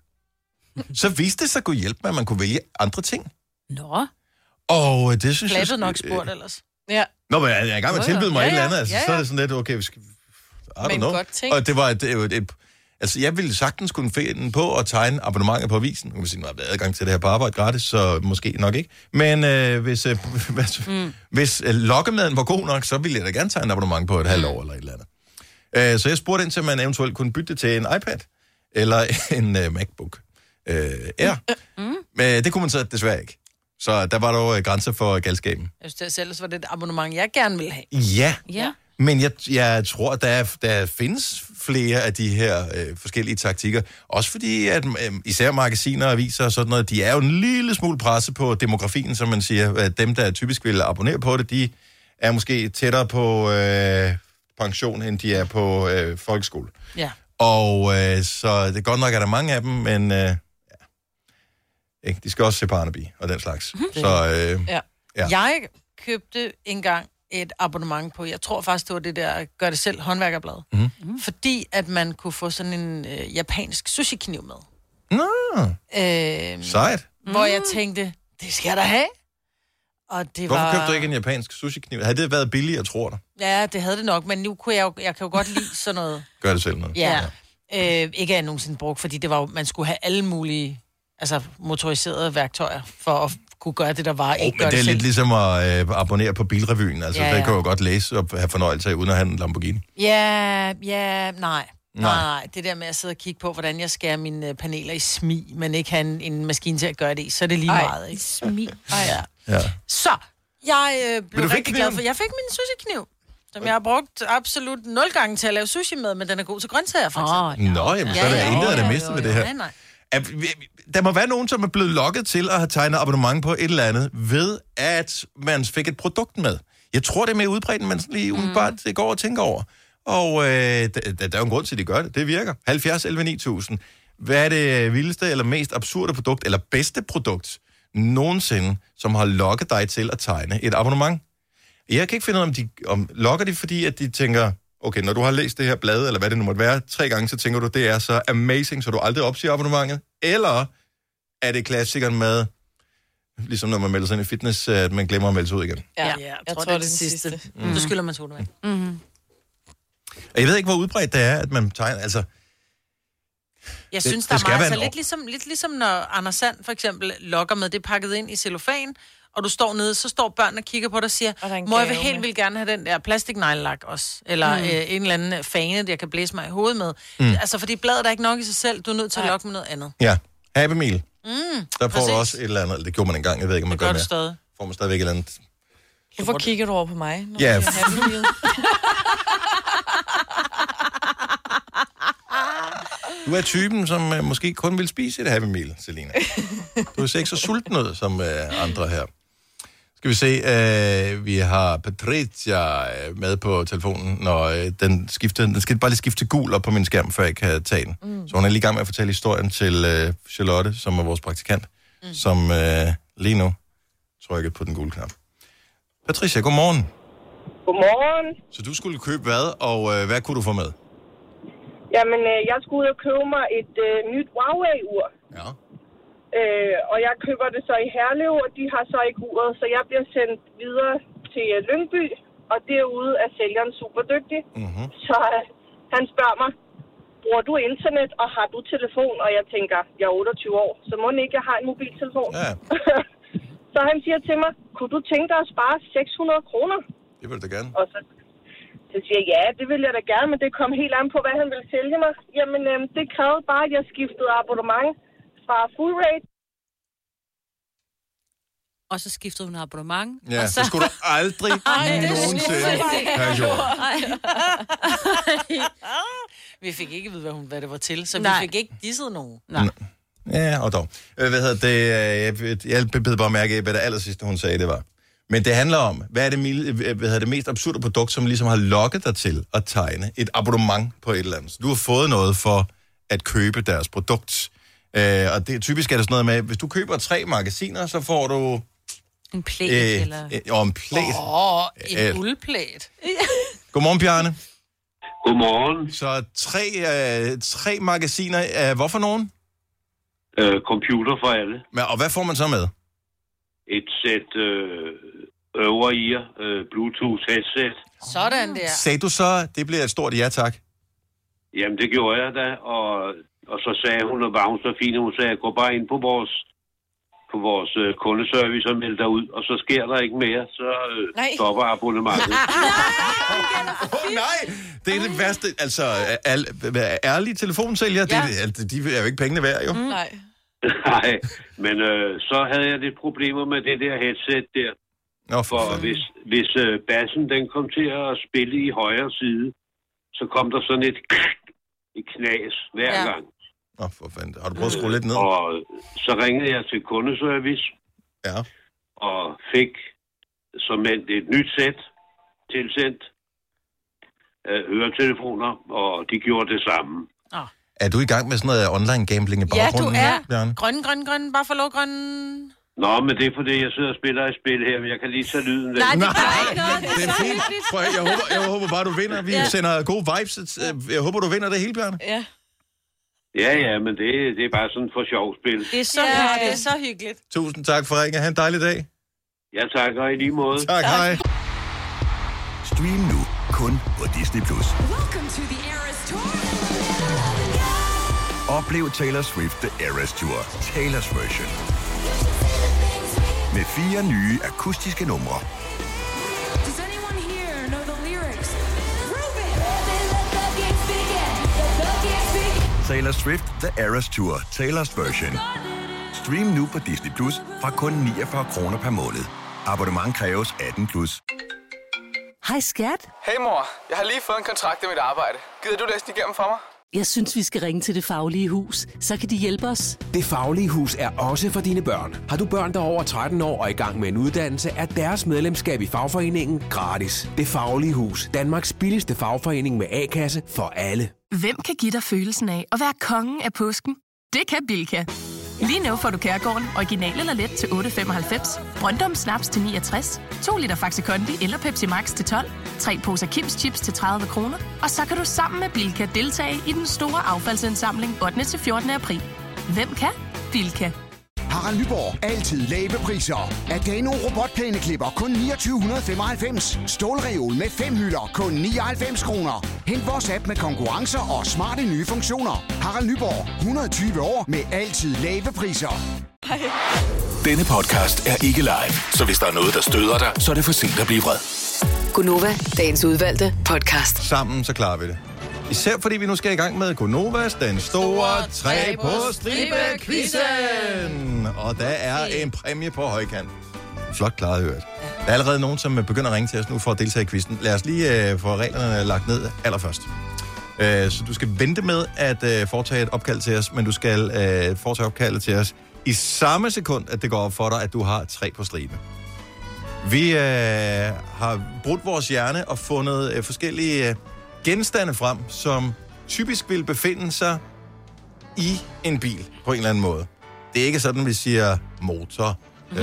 S1: Så viste det sig kunne hjælpe med, at man kunne vælge andre ting.
S3: Nå.
S1: Og øh, det synes jeg...
S3: Flattet
S1: sgu-
S3: nok spurgt
S1: øh,
S3: ellers. Ja.
S1: Nå, men jeg jeg er i gang med at
S3: Jo, jo.
S1: tilbyde mig
S3: Ja,
S1: et eller
S3: ja.
S1: andet, altså,
S3: Ja,
S1: så er
S3: ja.
S1: det sådan lidt, okay, vi skal... I don't
S3: Men
S1: know.
S3: godt tænkt.
S1: Og det var et, et, et, Altså, jeg ville sagtens kunne finde på at tegne abonnementer på avisen. Nu kan man sige, nu har jeg adgang til det her på arbejde gratis, så måske nok ikke. Men øh, hvis, øh, hvis, mm. hvis øh, lokkemaden var god nok, så ville jeg da gerne tegne et abonnement på et halvt år eller et eller andet. Øh, så jeg spurgte ind til, om man eventuelt kunne bytte det til en iPad eller en øh, MacBook øh, Air. Mm. Men det kunne man så desværre ikke. Så der var dog øh, grænser for galskaben.
S3: Jeg synes, det er selv, så var det et abonnement, jeg gerne ville have.
S1: Ja,
S3: Ja.
S1: men jeg, jeg tror, at der, er- der findes flere af de her øh, forskellige taktikker. Også fordi, at øh, især magasiner og aviser og sådan noget, de er jo en lille smule presse på demografien, som man siger. At dem, der typisk vil abonnere på det, de er måske tættere på øh, pension, end de er på øh, folkeskole.
S3: Ja.
S1: Og øh, så det er godt nok, at der er mange af dem, men øh, ja. Ikke? de skal også se Barnaby og den slags. Så øh,
S3: Mhm. Ja.
S1: Ja.
S3: ja. Jeg købte engang et abonnement på, jeg tror faktisk, det var det der gør det selv håndværkerblad. Mm. Fordi at man kunne få sådan en øh, japansk sushi-kniv med.
S1: Nå, Øhm.
S3: Øh,
S1: Mm. sejt.
S3: Hvor jeg tænkte, det skal jeg da have. Og det
S1: Hvorfor
S3: var...
S1: købte du ikke en japansk sushi-kniv? Havde det været billigere, tror du?
S3: Ja, det havde det nok, men nu kunne jeg jo, jeg kan jo godt lide sådan noget.
S1: Gør det selv noget.
S3: Ja. Øh, ikke at jeg nogensinde brugt, fordi det var jo, man skulle have alle mulige altså motoriserede værktøjer for at kunne gøre det, der var.
S1: Oh, men det er lidt ligesom at øh, abonnere på Bilrevyen. Altså, ja,
S3: Ja,
S1: ja. det
S3: ja.
S1: kan jo godt læse og have fornøjelse af, uden at have en Lamborghini.
S3: Ja, ja, nej.
S1: Nej.
S3: Nej. nej, det der med at sidde og kigge på, hvordan jeg skærer mine øh, paneler i smi, men ikke have en, en maskine til at gøre det i, så er det lige
S2: Ej,
S3: meget. Ikke? smi. Ej, ja.
S1: Ja.
S3: Så, jeg øh, blev
S1: du fik
S3: rigtig glad
S1: kniven?
S3: for, jeg fik min sushi-kniv, som jeg har brugt absolut nul gange til at lave sushi med, men den er god til grøntsager, for eksempel.
S1: Nå, jamen, så er der ja, intet af det miste ved det her.
S3: Nej, nej.
S1: At vi- Der må være nogen, som er blevet lokket til at have tegnet abonnement på et eller andet, ved at man fik et produkt med. Jeg tror, det er mere udbredt, end man sådan lige umiddelbart mm. går og tænker over. Og øh, der, der er jo en grund til, at de gør det. Det virker. 70 11 9000. Hvad er det vildeste eller mest absurde produkt, eller bedste produkt nogensinde, som har lokket dig til at tegne et abonnement? Jeg kan ikke finde ud af, om de om, lokker det, fordi at de tænker, okay, når du har læst det her blad, eller hvad det nu måtte være, tre gange, så tænker du, det er så amazing, så du aldrig opsiger abonnementet. Eller er det klassikeren med, ligesom når man melder sig ind i fitness, at man glemmer at melde sig ud igen.
S3: Ja, ja, jeg, jeg tror, det er den sidste. sidste. Mm. Du skylder man to det mm.
S1: Og jeg ved ikke, hvor udbredt det er, at man tegner, altså...
S3: Jeg
S1: Det-
S3: synes,
S1: det
S3: der
S1: skal
S3: er
S1: være
S3: meget, altså
S1: en
S3: lidt ligesom, lidt ligesom når Anders Sand for eksempel lokker med det er pakket ind i cellofan, og du står nede, så står børnene og kigger på dig og siger, må jeg vil
S5: gave
S3: helt
S5: med."
S3: vildt gerne have den der plastikneglelak også, eller
S5: Mm.
S3: mm. øh, en eller anden fane, jeg kan blæse mig i hovedet med.
S1: Mm.
S3: Mm. Altså, fordi bladet er ikke nok i sig selv, du er nødt til at lokke med noget andet.
S1: Ja, Happy Meal.
S3: Mm,
S1: Der får du
S3: præcis.
S1: også et eller andet, eller det gjorde man engang, jeg ved ikke, om man
S3: Det gør
S1: det
S3: du stadig.
S1: Får man stadigvæk et eller andet.
S5: Hvorfor kigger du over på mig? når
S1: Ja,
S5: jeg
S1: f-
S5: har happy meal?
S1: Du er typen, som uh, måske kun vil spise et Happy Meal, Selina. Du ser ikke så sulten ud som uh, andre her. Skal vi se, uh, vi har Patricia øh, med på telefonen, når uh, den skifter. Den skal bare lige skifte til gul op på min skærm, før jeg kan tage den. Mm. Så hun er lige i gang med at fortælle historien til uh, Charlotte, som er vores praktikant, mm. som uh, lige nu trykker på den gule knap. Patricia, godmorgen.
S13: Godmorgen.
S1: Så du skulle købe hvad, og uh, hvad kunne du få med?
S13: Jamen, øh, jeg skulle ud og købe mig et øh, nyt Huawei-ur.
S1: Ja.
S13: Øh, og jeg køber det så i Herlev, og de har så ikke uret, så jeg bliver sendt videre til øh, Lyngby, og derude er sælgeren super dygtig.
S1: Mhm.
S13: Mm-hmm. Så øh, han spørger mig, bruger du internet, og har du telefon? Og jeg tænker, jeg er 28 år, så må den ikke, jeg har en mobiltelefon. Ja. så han siger til mig,
S15: kunne du tænke dig at spare 600 kroner?
S1: Det vil du gerne.
S15: Og så, så siger jeg, ja, det ville jeg da gerne, men det kom helt an på, hvad han ville sælge mig. Jamen, øhm, det krævede bare, at jeg skiftede abonnement fra full rate.
S2: Og så skiftede hun abonnement.
S1: Ja,
S2: og
S1: så skulle du aldrig
S2: Ej, det
S1: nogensinde
S2: skulle jeg ikke.
S1: have gjort.
S3: vi fik ikke at vide, hvad, hun, hvad det var til, så
S2: Nej.
S3: vi fik ikke disset nogen.
S1: Nej. Ja, og dog. Øh, Hvad hedder det? øh, Jeg, jeg bed bare mærke i, hvad det aller sidste, hun sagde, det var. Men det handler om, hvad er det, mil- øh, hvad hedder det mest absurde produkt, som ligesom har lokket dig til at tegne et abonnement på et eller andet. Så du har fået noget for at købe deres produkt. Øh, og det, typisk er det sådan noget med, hvis du køber tre magasiner, så får du...
S2: En plæt,
S1: øh,
S2: eller...
S1: øh, og en plæt.
S3: Åh, oh,
S1: Øh.
S3: en uldplæt.
S1: Godmorgen, Bjarne.
S4: Godmorgen.
S1: Så tre, øh, tre magasiner. Øh, hvorfor nogen?
S4: Øh, computer for alle.
S1: Men, og hvad får man så med?
S4: Et sæt øh, øvre i øh, Bluetooth headset.
S3: Sådan der.
S1: Sagde du så, det bliver et stort ja tak?
S4: Jamen, det gjorde jeg da, og, og så sagde hun, og var hun så fin, hun sagde, gå bare ind på vores på vores øh, kundeservice og meld dig ud, og så sker der ikke mere, så øh,
S1: Nej.
S4: stopper abonnementet.
S1: Åh, nej! Det er det værste. Altså, al, hvad- ærlige telefonsælgere, ja. det, er det- de er jo ikke pengene værd, jo. Mm.
S3: Nej.
S4: Nej, men øh, så havde jeg lidt problemer med det der headset der.
S1: Nå,
S4: for hvis, hvis øh, bassen den kom til at spille i højre side, så kom der sådan et, et knas hver
S1: Ja.
S4: ja. gang.
S1: Nå, for fanden. Har du prøvet at skrue lidt ned?
S4: Og så ringede jeg til kundeservice.
S1: Ja.
S4: Og fik som et, et nyt sæt tilsendt øh, høretelefoner, og de gjorde det samme.
S1: Er du i gang med sådan noget online gambling i
S3: Ja, du
S1: baggrunden?
S3: er.
S1: Bjarne?
S3: Grønne, grønne, grønne. Bare for lov, grønne.
S4: Nå, men det er fordi, jeg sidder og spiller et spil her, men jeg kan lige tage lyden.
S3: Nej, det gør
S1: ikke noget. Det er fint. Prøv, at- jeg, håber, jeg håber bare, du vinder. Vi
S4: Ja.
S1: ja. sender gode vibes. Øh, Jeg håber, du vinder det hele, Bjørn.
S3: Ja.
S4: Ja, ja, men det, det er bare sådan for sjov spil.
S3: Det er så, ja, det er så hyggeligt.
S1: Tusind tak for ringen. Ha' en dejlig dag.
S4: Ja, tak, og i lige måde.
S1: Tak, hej.
S16: Stream nu kun på Disney+. Plus. Oplev Taylor Swift The Eras Tour, Taylor's version. Med fire nye akustiske numre. Taylor Swift The Eras Tour, Taylor's version. Stream nu på Disney Plus fra kun 49 kroner per måned. Abonnement kræves 18 plus.
S17: Hej skat.
S18: Hey mor, jeg har lige fået en kontrakt med mit arbejde. Gider du læse den igennem for mig?
S17: Jeg synes, vi skal ringe til Det Faglige Hus. Så kan de hjælpe os.
S19: Det Faglige Hus er også for dine børn. Har du børn, der er over 13 år og i gang med en uddannelse, er deres medlemskab i fagforeningen gratis. Det Faglige Hus. Danmarks billigste fagforening med A-kasse for alle.
S20: Hvem kan give dig følelsen af at være kongen af påsken? Det kan Bilka! Lige nu får du Kærgården original eller let til 8.95, Brøndum Snaps til 69, 2 liter Faxi Kondi eller Pepsi Max til 12, 3 poser Kims Chips til 30 kroner, og så kan du sammen med Bilka deltage i den store affaldsindsamling 8. til 14. april. Hvem kan? Bilka.
S21: Harald Nyborg. Altid lave priser. Adano robotplæneklipper kun 2995. Stålreol med fem hylder kun 99 kroner. Hent vores app med konkurrencer og smarte nye funktioner. Harald Nyborg. 120 år med altid lave priser.
S16: Denne podcast er ikke live, så hvis der er noget, der støder dig, så er det for sent at blive vred.
S7: Gunova, dagens udvalgte podcast.
S1: Sammen så klarer vi det. Især fordi vi nu skal i gang med Gonovas, den store tre på stribe-quizzen. Og der er en præmie på højkant. Flot klaret, hørt. Der er allerede nogen, som øh, begynder at ringe til os nu for at deltage i quizzen. Lad os lige øh, få reglerne lagt ned allerførst. Øh, så du skal vente med at øh, foretage et opkald til os, men du skal øh, foretage opkaldet til os i samme sekund, at det går op for dig, at du har tre på stribe. Vi øh, har brudt vores hjerne og fundet øh, forskellige øh, genstande frem, som typisk vil befinde sig i en bil på en eller anden måde. Det er ikke sådan, vi siger motor, øh,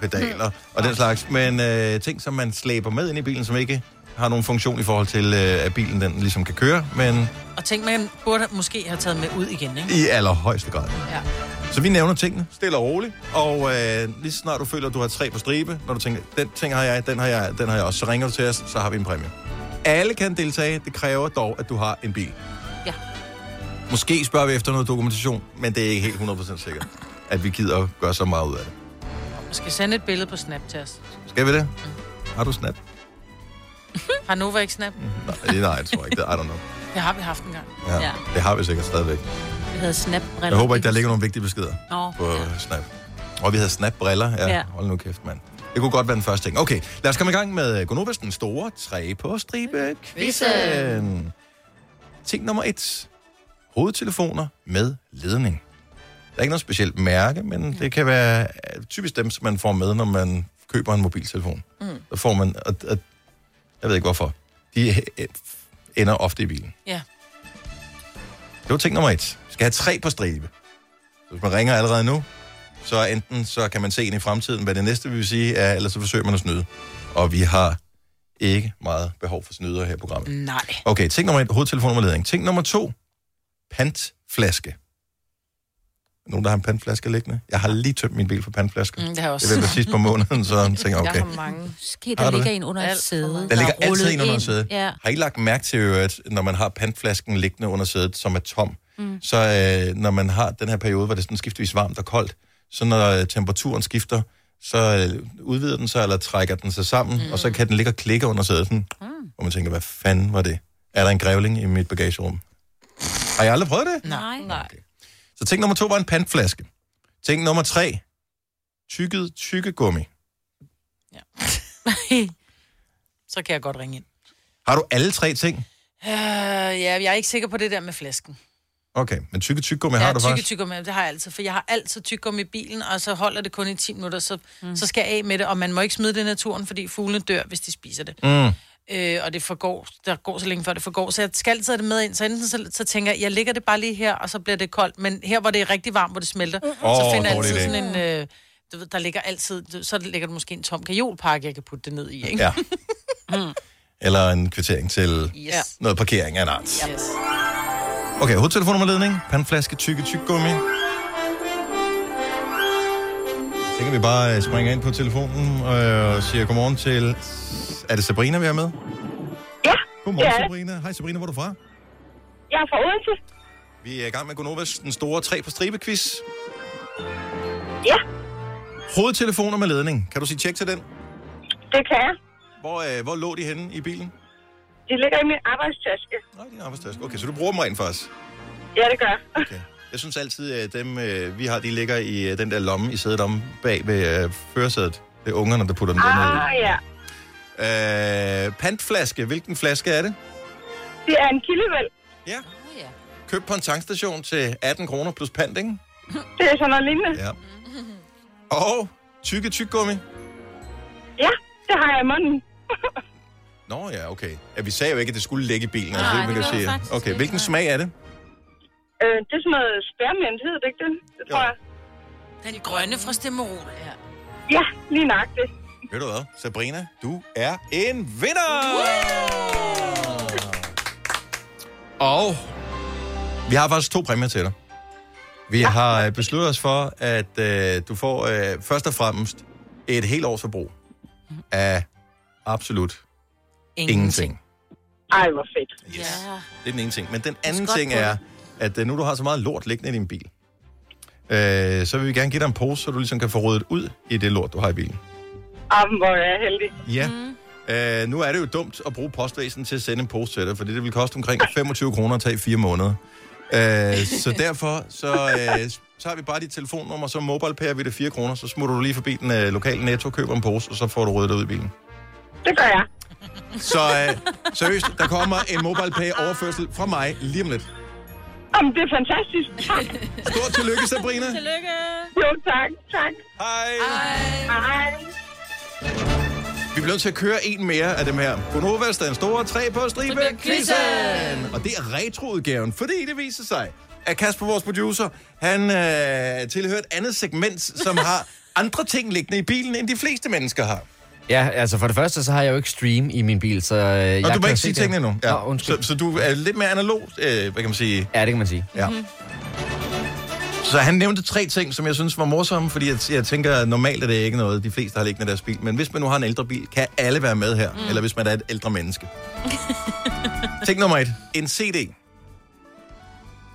S1: pedaler og den slags, men øh, ting, som man slæber med ind i bilen, som ikke har nogen funktion i forhold til, øh, at bilen den ligesom kan køre, men
S3: Og tænk, man burde måske have taget med ud igen, ikke?
S1: i allerhøjeste grad.
S3: Ja.
S1: Så vi nævner tingene stille og roligt, og øh, lige så snart du føler, at du har tre på stribe, når du tænker, den ting har jeg, den har jeg, den har jeg også, så ringer du til os, så har vi en præmie. Alle kan deltage, det kræver dog, at du har en bil.
S2: Ja.
S1: Måske spørger vi efter noget dokumentation, men det er ikke helt 100% sikkert, at vi gider at gøre så meget ud af det.
S3: Jeg skal sende et billede på Snap til os.
S1: Skal vi det? Har du snap?
S3: Har Nova ikke Snap?
S1: Nej, nej, det tror jeg ikke. Det, I don't know.
S3: Det har vi haft en gang.
S1: Mhm. Ja, ja.
S3: Ja.
S1: Det har vi sikkert stadigvæk.
S3: Vi havde snap
S1: Jeg håber ikke, der ligger nogen vigtige beskeder
S3: Nå,
S1: på ja. Snap. Og vi havde Snap-briller. Ja, ja.
S3: Ja.
S1: Hold nu kæft, mand. Det kunne godt være den første ting. Okay, lad os komme i gang med Gonovas den store tre på stribe quizzen. Ting nummer et. Hovedtelefoner med ledning. Der er ikke noget specielt mærke, men det kan være øh, typisk dem, som man får med, når man køber en mobiltelefon.
S3: Mm.
S1: Der får man... Og, og, jeg ved ikke hvorfor. De øh, ender ofte i bilen.
S3: Ja.
S1: Det var ting nummer et. Vi skal have tre på stribe. Så Hvis man ringer allerede nu, så enten så kan man se ind i fremtiden, hvad det næste vi vil sige er, eller så forsøger man at snyde. Og vi har ikke meget behov for snydere her i programmet.
S3: Nej.
S1: Okay, ting nummer et, hovedtelefonnummerledning. Ting nummer to, pantflaske. Nogen, der har en pantflaske liggende? Jeg har lige tømt min bil for pantflasker.
S3: Mm, det har jeg også.
S1: Det var sidst på måneden, så jeg tænker, okay.
S3: mange.
S4: Ske,
S1: Har
S4: der
S1: du
S4: ligger
S1: det?
S4: en under et sæde.
S1: Der ligger
S4: er rullet
S1: altid en under
S4: ind.
S1: sædet.
S4: Ja.
S1: Har I lagt mærke til, i øvrigt, når man har pantflasken liggende under sædet, som er tom,
S4: Mm.
S1: så øh, når man har den her periode, hvor det er sådan skiftevis varmt og koldt, så når øh, temperaturen skifter, så øh, udvider den sig, eller trækker den sig sammen, mm. og så kan den ligge og klikke under sædet, sådan, mm. og man tænker, hvad fanden var det? Er der en grævling i mit bagagerum? Har jeg aldrig prøvet det?
S3: Nej. Nej.
S1: Så ting nummer to var en pantflaske. Ting nummer tre, tykket tykkegummi.
S3: Så kan jeg godt ringe ind.
S1: Har du alle tre ting?
S3: Øh, ja, jeg er ikke sikker på det der med flæsken.
S1: Okay, men tykke tykkegummi
S3: jeg
S1: har du
S3: tykke,
S1: faktisk.
S3: tykke med, det har jeg altid, for jeg har altid tyggegummi i bilen, og så holder det kun i 10 minutter, så, mm. så skal jeg af med det, og man må ikke smide det i naturen, fordi fuglene dør, hvis de spiser det.
S1: Mm.
S3: Øh, og det forgår, der går så længe før det forgår, så jeg skal altid have det med ind, så enten så, så tænker jeg, jeg ligger det bare lige her, og så bliver det koldt, men her, hvor det er rigtig varmt, hvor det smelter, mm. så
S1: Åh,
S3: finder jeg
S1: dårlig
S3: altid
S1: idé.
S3: sådan en... Øh, du ved, der ligger altid, du- så ligger der måske en tom kajolpakke, jeg kan putte det ned i, ikke? Mm.
S1: Ja. Eller en kvittering til
S3: Yes.
S1: noget parkering af en art.
S3: Yes.
S1: Okay, hovedtelefonnummerledning, pandflaske, tykke, tykkegummi. Så kan vi bare øh, springe ind på telefonen øh, og sige godmorgen til... Er det Sabrina, vi er med?
S6: Ja,
S1: Godmorgen,
S6: det er det.
S1: Sabrina. Hej Sabrina, hvor er du fra?
S6: Jeg er fra Odense.
S1: Vi er i gang med Gonovas den store tre på stribe quiz.
S6: Ja.
S1: Hovedtelefoner med ledning. Kan du sige tjek til den?
S6: Det kan jeg.
S1: Hvor, øh, hvor lå de henne i bilen?
S6: De ligger i min arbejdstaske.
S1: Nej, din arbejdstaske. Okay, så du bruger dem rent faktisk?
S6: Ja, det gør jeg.
S1: Jeg synes altid, at dem, øh, vi har, de ligger i øh, den der lomme i sædet om bag ved øh, førersædet. Det er ungerne, der putter dem derned i.
S6: Ah, ja.
S1: Øh, pantflaske. Hvilken flaske er det?
S6: Det er en kildevæld.
S1: Ja. Køb på en tankstation til 18 kroner plus pant, ikke?
S6: Det er sådan noget lignende.
S1: Ja. Og tykke tyggegummi.
S6: Ja, det har jeg i munden.
S1: Nå ja, okay. Ja, vi sagde jo ikke, at det skulle ligge i bilen.
S6: Nej,
S1: man
S6: det gør
S1: sige.
S6: det faktisk
S1: Okay, hvilken smag er det?
S6: Øh, det er sådan noget spærmint, hedder det ikke det? Det tror jeg.
S3: Den grønne fra Stemmerol. Ja.
S6: Ja, lige nøjagtigt.
S1: Ved du hvad, Sabrina, du er en vinder! Og vi har faktisk to præmier til dig. Vi har øh, besluttet os for, at øh, du får øh, først og fremmest et helt års forbrug af absolut ingenting. ingenting.
S6: Ej, hvor fedt.
S1: Yes. Det er den ene ting. Men den anden
S6: godt
S1: ting
S6: på
S1: er, at øh, nu du har så meget lort liggende i din bil, øh, så vil vi gerne give dig en pose, så du ligesom kan få ryddet ud i det lort, du har i bilen.
S6: Om, hvor er jeg heldig.
S1: Ja. Mm. Øh, nu er det jo dumt at bruge postvæsen til at sende en pose til dig, fordi det vil koste omkring 25 kroner at tage fire måneder. Øh, så derfor så, øh, så har vi bare dit telefonnummer, så mobile vi det 4 kroner, så smutter du lige forbi den øh, lokale netto, køber en pose, og så får du ryddet ud i bilen.
S6: Det gør jeg.
S1: Så øh, seriøst, der kommer en mobile overførsel fra mig lige om lidt.
S6: Om, det er fantastisk. Tak.
S1: Stort tillykke, Sabrina.
S6: Tillykke. Jo, tak. Tak.
S1: Hej.
S6: Hej. Hej.
S1: Vi bliver nødt til at køre en mere af dem her. Gunovas, den store tre på stribe quizzen. Og det er retroudgaven, fordi det viser sig, at Kasper, vores producer, han øh, tilhører et andet segment, som har andre ting liggende i bilen, end de fleste mennesker har.
S22: Ja, altså for det første, så har jeg jo ikke stream i min bil, så øh, jeg
S1: Og du må
S22: kan
S1: ikke
S22: se
S1: sige
S22: det.
S1: tingene endnu.
S22: Nå, undskyld.
S1: Så, så du er lidt mere analog, øh, hvad kan man sige?
S22: Ja, det kan man sige.
S1: Ja. Så han nævnte tre ting, som jeg synes var morsomme, fordi jeg, jeg tænker, at normalt er det ikke noget, de fleste har liggende i deres bil. Men hvis man nu har en ældre bil, kan alle være med her. Mm. Eller hvis man er et ældre menneske. Ting nummer et. En CD.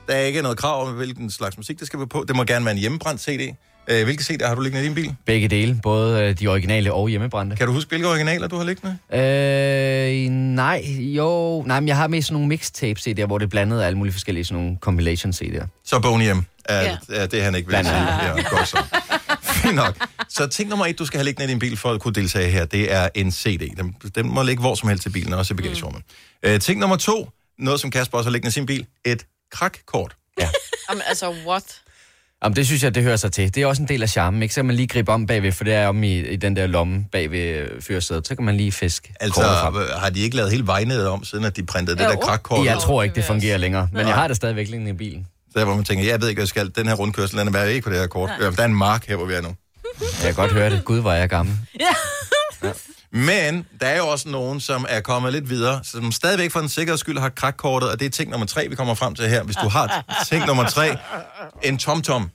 S1: Der er ikke noget krav om, hvilken slags musik det skal være på. Det må gerne være en hjemmebrændt CD. Øh, hvilke CD har du liggende i din bil?
S22: Begge dele, både øh, de originale og hjemmebrændte.
S1: Kan du huske, hvilke originaler du har liggende?
S22: Øh, nej, jo. Nej, men jeg har mest sådan nogle mixtape-CD'er, hvor det er blandet af alle mulige forskellige sådan nogle compilation-CD'er.
S1: Så Boney M. Er, er det, han ikke vil
S22: Blandt
S1: sige. Ja,
S22: andet.
S1: godt så. Fint nok. Så ting nummer et, du skal have liggende i din bil for at kunne deltage her, det er en CD. Den, den må ligge hvor som helst i bilen, også i bagagerummet. Mm. Øh, ting nummer to, noget som Kasper også har liggende i sin bil, et krakkort.
S5: Jamen, altså, what?
S22: Jamen, det synes jeg, det hører sig til. Det er også en del af charmen, ikke? Så kan man lige gribe om bagved, for det er om i, i den der lomme bagved øh, fyrsædet. Så kan man lige fiske
S1: Altså, har de ikke lavet hele vejnettet om, siden at de printede det der krakkort?
S22: Jeg
S1: ud?
S22: tror ikke, det fungerer længere. Men
S1: Nej.
S22: jeg har det stadigvæk liggende i bilen.
S1: Der, hvor man tænker, jeg ved ikke, hvad jeg skal. Den her rundkørsel, den er værd ikke på det her kort. Ja. Der er en mark her, hvor vi er nu.
S22: Jeg kan godt høre det. Gud, var jeg gammel.
S1: Ja. Men der er jo også nogen, som er kommet lidt videre, som stadigvæk for en sikkerheds skyld har krakkortet, og det er ting nummer tre, vi kommer frem til her. Hvis du har ting nummer tre, en tomtom.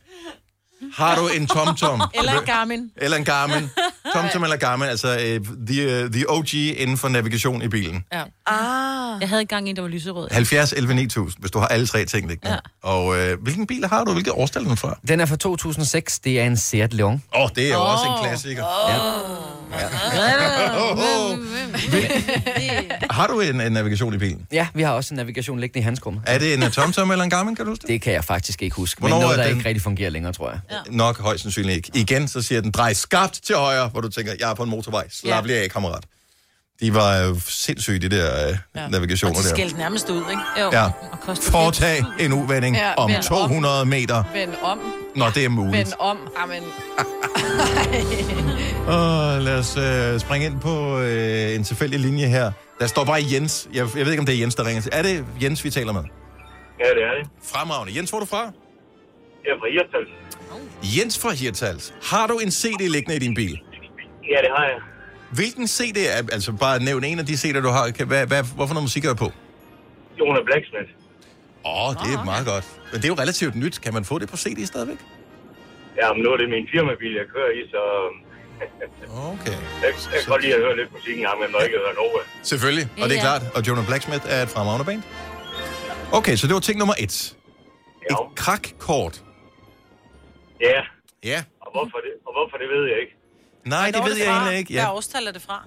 S1: Har du en tomtom?
S3: Eller en Garmin.
S1: Eller en Garmin. Tomtom eller Garmin, altså uh, the, uh, the OG inden for navigation i bilen.
S2: Ja. Ah. Jeg havde engang en, der var lyserød.
S1: 70, 11, 9000, hvis du har alle tre ting liggende. Ja. Og uh, hvilken bil har du? Hvilket årstal er den fra?
S22: Den er fra 2006. Det er en Seat Leon.
S1: Åh, oh, det er jo oh. også en klassiker. Oh. Ja. Har du en, en navigation i bilen?
S22: Ja, vi har også en navigation liggende i handskrummet.
S1: Er det en øh, TomTom eller en Garmin, kan du huske det?
S22: Det kan jeg faktisk ikke huske,
S1: Hvornår
S22: men noget,
S1: er
S22: der
S1: den-
S22: ikke rigtig fungerer længere, tror jeg.
S1: Ja. Nok højst sandsynligt ikke. Igen, så siger den, drej skarpt til højre, hvor du tænker, jeg er på en motorvej. Slap lige af, kammerat. De var øh, sindssyge, de der øh, ja.
S3: Og
S1: navigationer
S3: de
S1: der.
S3: skældte nærmest ud, ikke? Jo.
S1: Ja.
S3: Og kostede
S1: Foretag en uvending
S5: Ja,
S1: ja, om
S5: vend om.
S1: 200 meter,
S5: Vend om.
S1: når det er muligt.
S5: Vend om. Amen.
S1: Og lad os øh, springe ind på øh, en tilfældig linje her. Der står bare Jens. Jeg, jeg ved ikke, om det er Jens, der ringer til. Er det Jens, vi taler med?
S14: Ja, det er det.
S1: Fremragende. Jens, hvor er du fra?
S14: Jeg er fra Hirtals.
S1: Jens fra Hirtals. Har du en CD liggende i din bil?
S14: Ja, det har jeg.
S1: Hvilken CD er, altså bare nævn en af de CD'er, du har. Kan- Hvad, hvad, hvorfor noget musik er på?
S14: Jonas Blacksmith.
S1: Åh, oh, det er meget godt. Men det er jo relativt nyt. Kan man få det på CD stadigvæk?
S14: Ja, men nu er det min firmabil, jeg kører i, så... øhm,
S1: Okay.
S14: Jeg, jeg kan godt lide at høre lidt musik engang, men når jeg ikke hører Nova.
S1: Selvfølgelig, og det
S14: Ja.
S1: er klart. Og Jonah Blacksmith er et fremragende band. Okay, så det var ting nummer et. Et krakkort.
S14: Ja.
S1: Ja.
S14: Og hvorfor det, og hvorfor det ved jeg ikke.
S1: Nej, det
S3: Hvornår er
S1: ved jeg
S3: fra?
S1: egentlig ikke.
S3: Hvad
S1: Ja.
S3: årstal er det fra?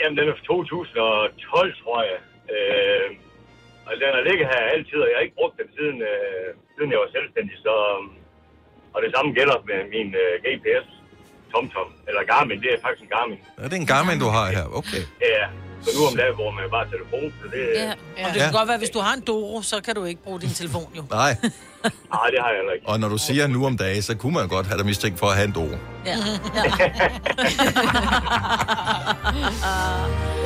S14: Jamen, den er fra 2012, tror jeg. Øh, og den har ligget her altid, og jeg har ikke brugt den siden, øh, siden jeg var selvstændig. Så, øhm, og det samme gælder med min øh, GPS, TomTom, eller Garmin. Det er faktisk en Garmin.
S1: Ja, det er en Garmin, du har her. Okay.
S14: Ja, så nu om dagen bruger man jo bare telefon, så det...
S3: Ja. Og det
S1: Ja.
S3: kan godt være, hvis du har en Doro, så kan du ikke bruge din telefon, jo.
S1: Nej.
S14: Nej, det har jeg heller ikke.
S1: Og når du siger nu om dagen, så kunne man jo godt have dig mistænkt for at have en doro.
S3: Ja.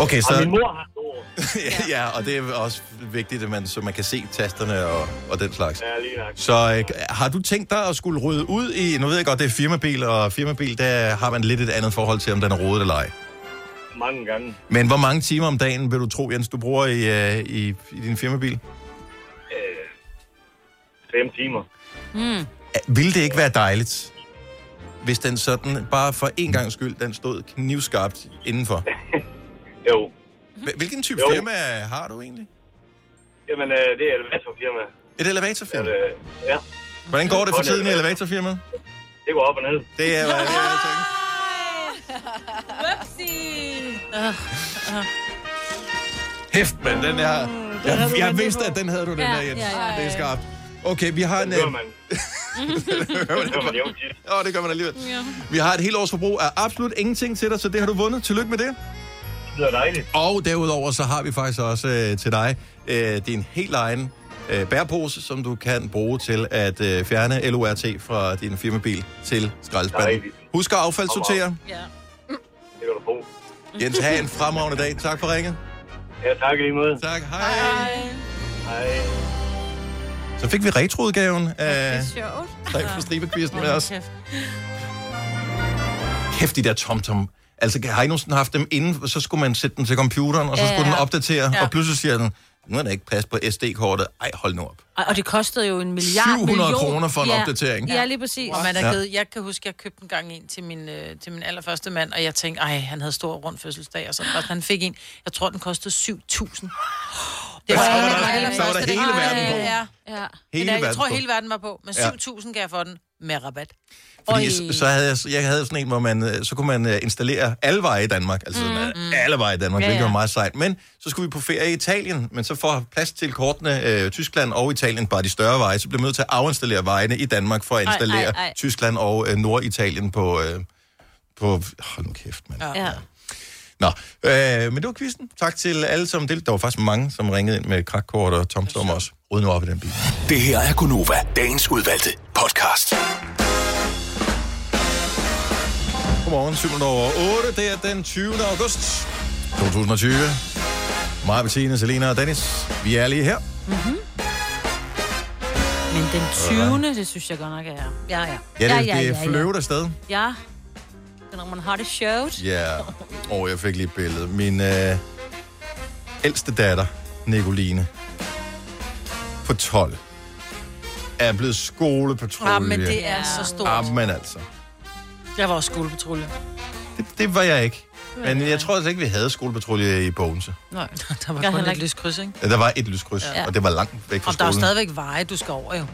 S1: Okay, så...
S14: Og min mor har en doro.
S1: ja, og det er også vigtigt, at man, så man kan se tasterne og, og den slags.
S14: Ja, lige nok.
S1: Så øh, har du tænkt dig at skulle rydde ud i... Nu ved jeg godt, det er firmabil, og firmabil, der har man lidt et andet forhold til, om den er rodet eller ej.
S14: Mange gange.
S1: Men hvor mange timer om dagen vil du tro, Jens, du bruger i, øh, i, i din firmabil?
S14: Øh, fem timer.
S2: Mm.
S1: Vil det ikke være dejligt, hvis den sådan, bare for en gang skyld, den stod knivskarpt indenfor?
S14: jo.
S1: Hvilken type
S14: Jo.
S1: firma har du egentlig?
S14: Jamen, øh, det er elevatorfirma.
S1: Et elevatorfirma?
S14: Øh, ja.
S1: Hvordan går det for
S14: Godt
S1: tiden i
S14: elevator.
S1: elevatorfirmaet?
S14: Det går op og ned.
S1: Det er, hvad det er. Hæft, men den her...
S10: Mm,
S1: Jeg, jeg vidste, at den havde du, den
S10: Ja,
S1: der, Jens.
S10: ja, ja, ja.
S1: Det er skarpt. Okay, vi har en...
S10: Den gør
S1: øh,
S10: man.
S1: det gør man
S14: alligevel.
S1: Åh, det gør man alligevel. Vi har et helt års forbrug af absolut ingenting til dig, så det har du vundet. Tillykke med det.
S14: Det er dejligt.
S1: Og derudover så har vi faktisk også øh, til dig øh, din helt egen øh, bærepose, som du kan bruge til at øh, fjerne LORT fra din firmabil til skraldespanden.
S14: Dejligt.
S1: Husk at affaldssortere.
S14: Ja. Det kan du få.
S1: Jens, have en fremragende dag. Tak for ringet.
S14: Ja, tak i lige måde.
S1: Tak, hej. Hej.
S14: Hej.
S1: Så fik vi retroudgaven af
S14: sjovt.
S1: Tre på stribekvisten med os. Kæft, de der tomtom. Altså, har I nogensinde haft dem inden, så skulle man sætte den til computeren, og så
S2: Ja,
S1: skulle den
S2: ja.
S1: opdatere,
S2: Ja.
S1: og pludselig siger den, nu er der ikke plads på SD-kortet. Ej, hold nu op.
S2: Ej, Og det kostede jo en milliard
S1: 700
S2: million.
S1: kroner for en
S2: ja.
S1: opdatering.
S2: Ja, lige præcis.
S3: Og man er
S1: Ja.
S3: givet, jeg kan huske, jeg købte en gang en til min, øh, til min allerførste mand, og jeg tænkte, ej, han havde stor rund fødselsdag, og så og han fik en, jeg tror, den kostede 7.000. Det var,
S1: så
S3: det
S1: var
S3: var
S1: der, så var der
S3: allerførste,
S1: hele
S3: det-
S1: verden på.
S3: Ja, ja.
S1: Hele
S3: Hele der, jeg
S1: verden
S3: tror,
S1: på.
S3: hele verden var på. Men
S1: Ja.
S3: 7.000 kan jeg få den med rabat.
S1: Fordi
S3: Oj.
S1: så- så havde jeg, jeg havde sådan en, hvor man, øh, så kunne man øh, installere alle veje i Danmark, altså mm. alle veje i Danmark,
S3: Ja,
S1: ja, hvilket
S3: ja.
S1: var meget sejt. Men så skulle vi på ferie i Italien, men så for plads til kortene øh, Tyskland og Italien, bare de større veje, så blev vi nødt til at afinstallere vejene i Danmark for at
S2: Ej,
S1: installere
S2: ej, ej.
S1: Tyskland og øh, Norditalien på, øh, på... Hold nu kæft, mand.
S2: Ja. ja.
S1: Nå, øh, men det var quizzen. Tak til alle, som deltog. Der var faktisk mange, som ringede ind med krakkort og tomstorm også. Ryd nu op i den bil.
S8: Det her er Gunova, dagens udvalgte podcast.
S1: Godmorgen, 7 over 8. Det er den 20. august 2020. Maja, Bettina, Selena og Dennis. Vi er lige her.
S2: Mm-hmm. Men den 20. det synes jeg godt nok er.
S3: Ja, ja.
S1: Ja, det, det er fløvet afsted.
S2: Ja. Den er man har det sjovt.
S1: Ja. Åh, oh, jeg fik lige et billede. Min øh, ældste datter, Nicoline, på 12, er blevet skolepatrulje.
S3: Ah, men det er så stort.
S1: Ah, men altså.
S3: Jeg var også skolepatrulje.
S1: Det, det var jeg ikke. Men jeg tror altså ikke, vi havde skolepatrulje i Bogense.
S3: Nej, der var
S2: Jeg
S3: kun
S2: heller
S3: et
S2: ikke.
S3: lyskryds, ikke?
S1: Ja, Der var et lyskryds,
S3: Ja.
S1: ja. og det var langt Øh, væk fra
S3: Og der er jo
S1: skolen.
S3: stadigvæk veje, du skal over jo.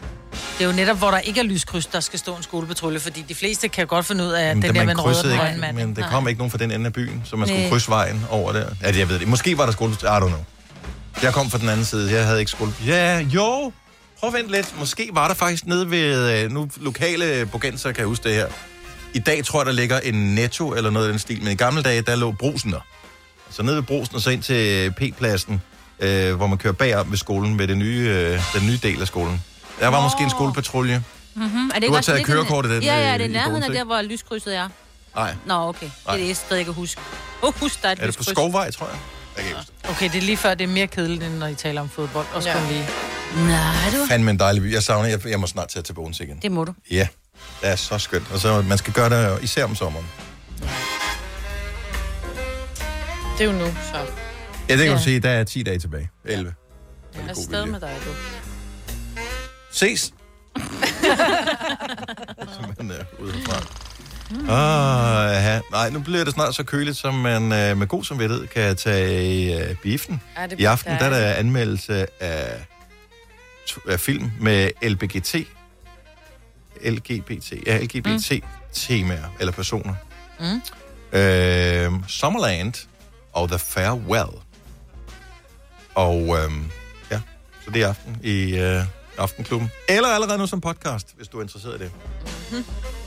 S3: Det er jo netop, hvor der ikke er lyskryds, der skal stå en skolepatrulje, fordi de fleste kan godt finde ud af, at
S1: Jamen,
S3: den
S1: det-
S3: der
S1: man
S3: med den røde og
S1: krydsede
S3: den
S1: ikke,
S3: grønne mand.
S1: Men der
S3: Nej.
S1: kom ikke nogen fra den ende af byen, så man skulle
S3: Næ.
S1: krydse vejen over der. Ja, jeg ved det. Måske var der skole... I don't know. Jeg kom fra den anden side. Jeg havde ikke skole... Ja, jo. Prøv at vente lidt. Måske var der faktisk nede ved... øh, Nu lokale bogenser kan jeg huske det her. I dag tror jeg, der ligger en netto eller noget af den stil. Men i gamle dage, der lå brusen der. Så nede ved brusen og så ind til P-pladsen, øh, hvor man kører bagom ved skolen ved det nye, øh, den nye del af skolen. Der var måske en skolepatrulje.
S2: Mm-hmm. Er det
S1: Du
S2: ikke
S1: har
S2: også
S1: taget
S2: lidt en-
S1: kørekort i den,
S2: Ja,
S1: øh,
S2: ja, det er
S1: i
S2: nærheden af
S1: Bogense,
S2: der,
S1: ikke?
S2: hvor lyskrydset er.
S1: Nej.
S2: Nå, okay. Det er
S1: Nej.
S2: det eneste sted, jeg kan huske. Åh, husk, der er et
S1: Er det på
S2: lyskryds.
S1: Skovvej, tror jeg?
S3: Okay, det er lige før, det er mere kedeligt, end når I taler om fodbold. Også ja. lige.
S2: Nej, du.
S1: Fandme en dejlig by. Jeg savner, jeg, jeg må snart til at tage Bogense igen.
S2: Det må du.
S1: Ja, det er så skønt. Og så man skal gøre det jo især om sommeren.
S5: Det er jo nu, så.
S1: Ja, det kan
S5: Ja.
S1: ja. du sige, der er 10 dage tilbage. 11.
S5: Jeg er stadig med dig, du.
S1: Ses! Men øh, ude herfra.
S5: Mm.
S1: Åh, Ah, ja. Nej, nu bliver det snart så køligt, som man øh, med god samvittighed kan tage i øh, biffen.
S5: Ja, det
S1: I
S5: bliver
S1: aften der er der
S5: dejligt.
S1: anmeldelse af, to- af film med LBGT. LGBT. Ja,
S5: Mm.
S1: LGBT-temaer eller personer.
S3: Mm.
S1: Øh, Summerland og The Farewell. Og øh, ja, så det er i aften i øh, Aftenklubben. Eller allerede nu som podcast, hvis du er interesseret i det.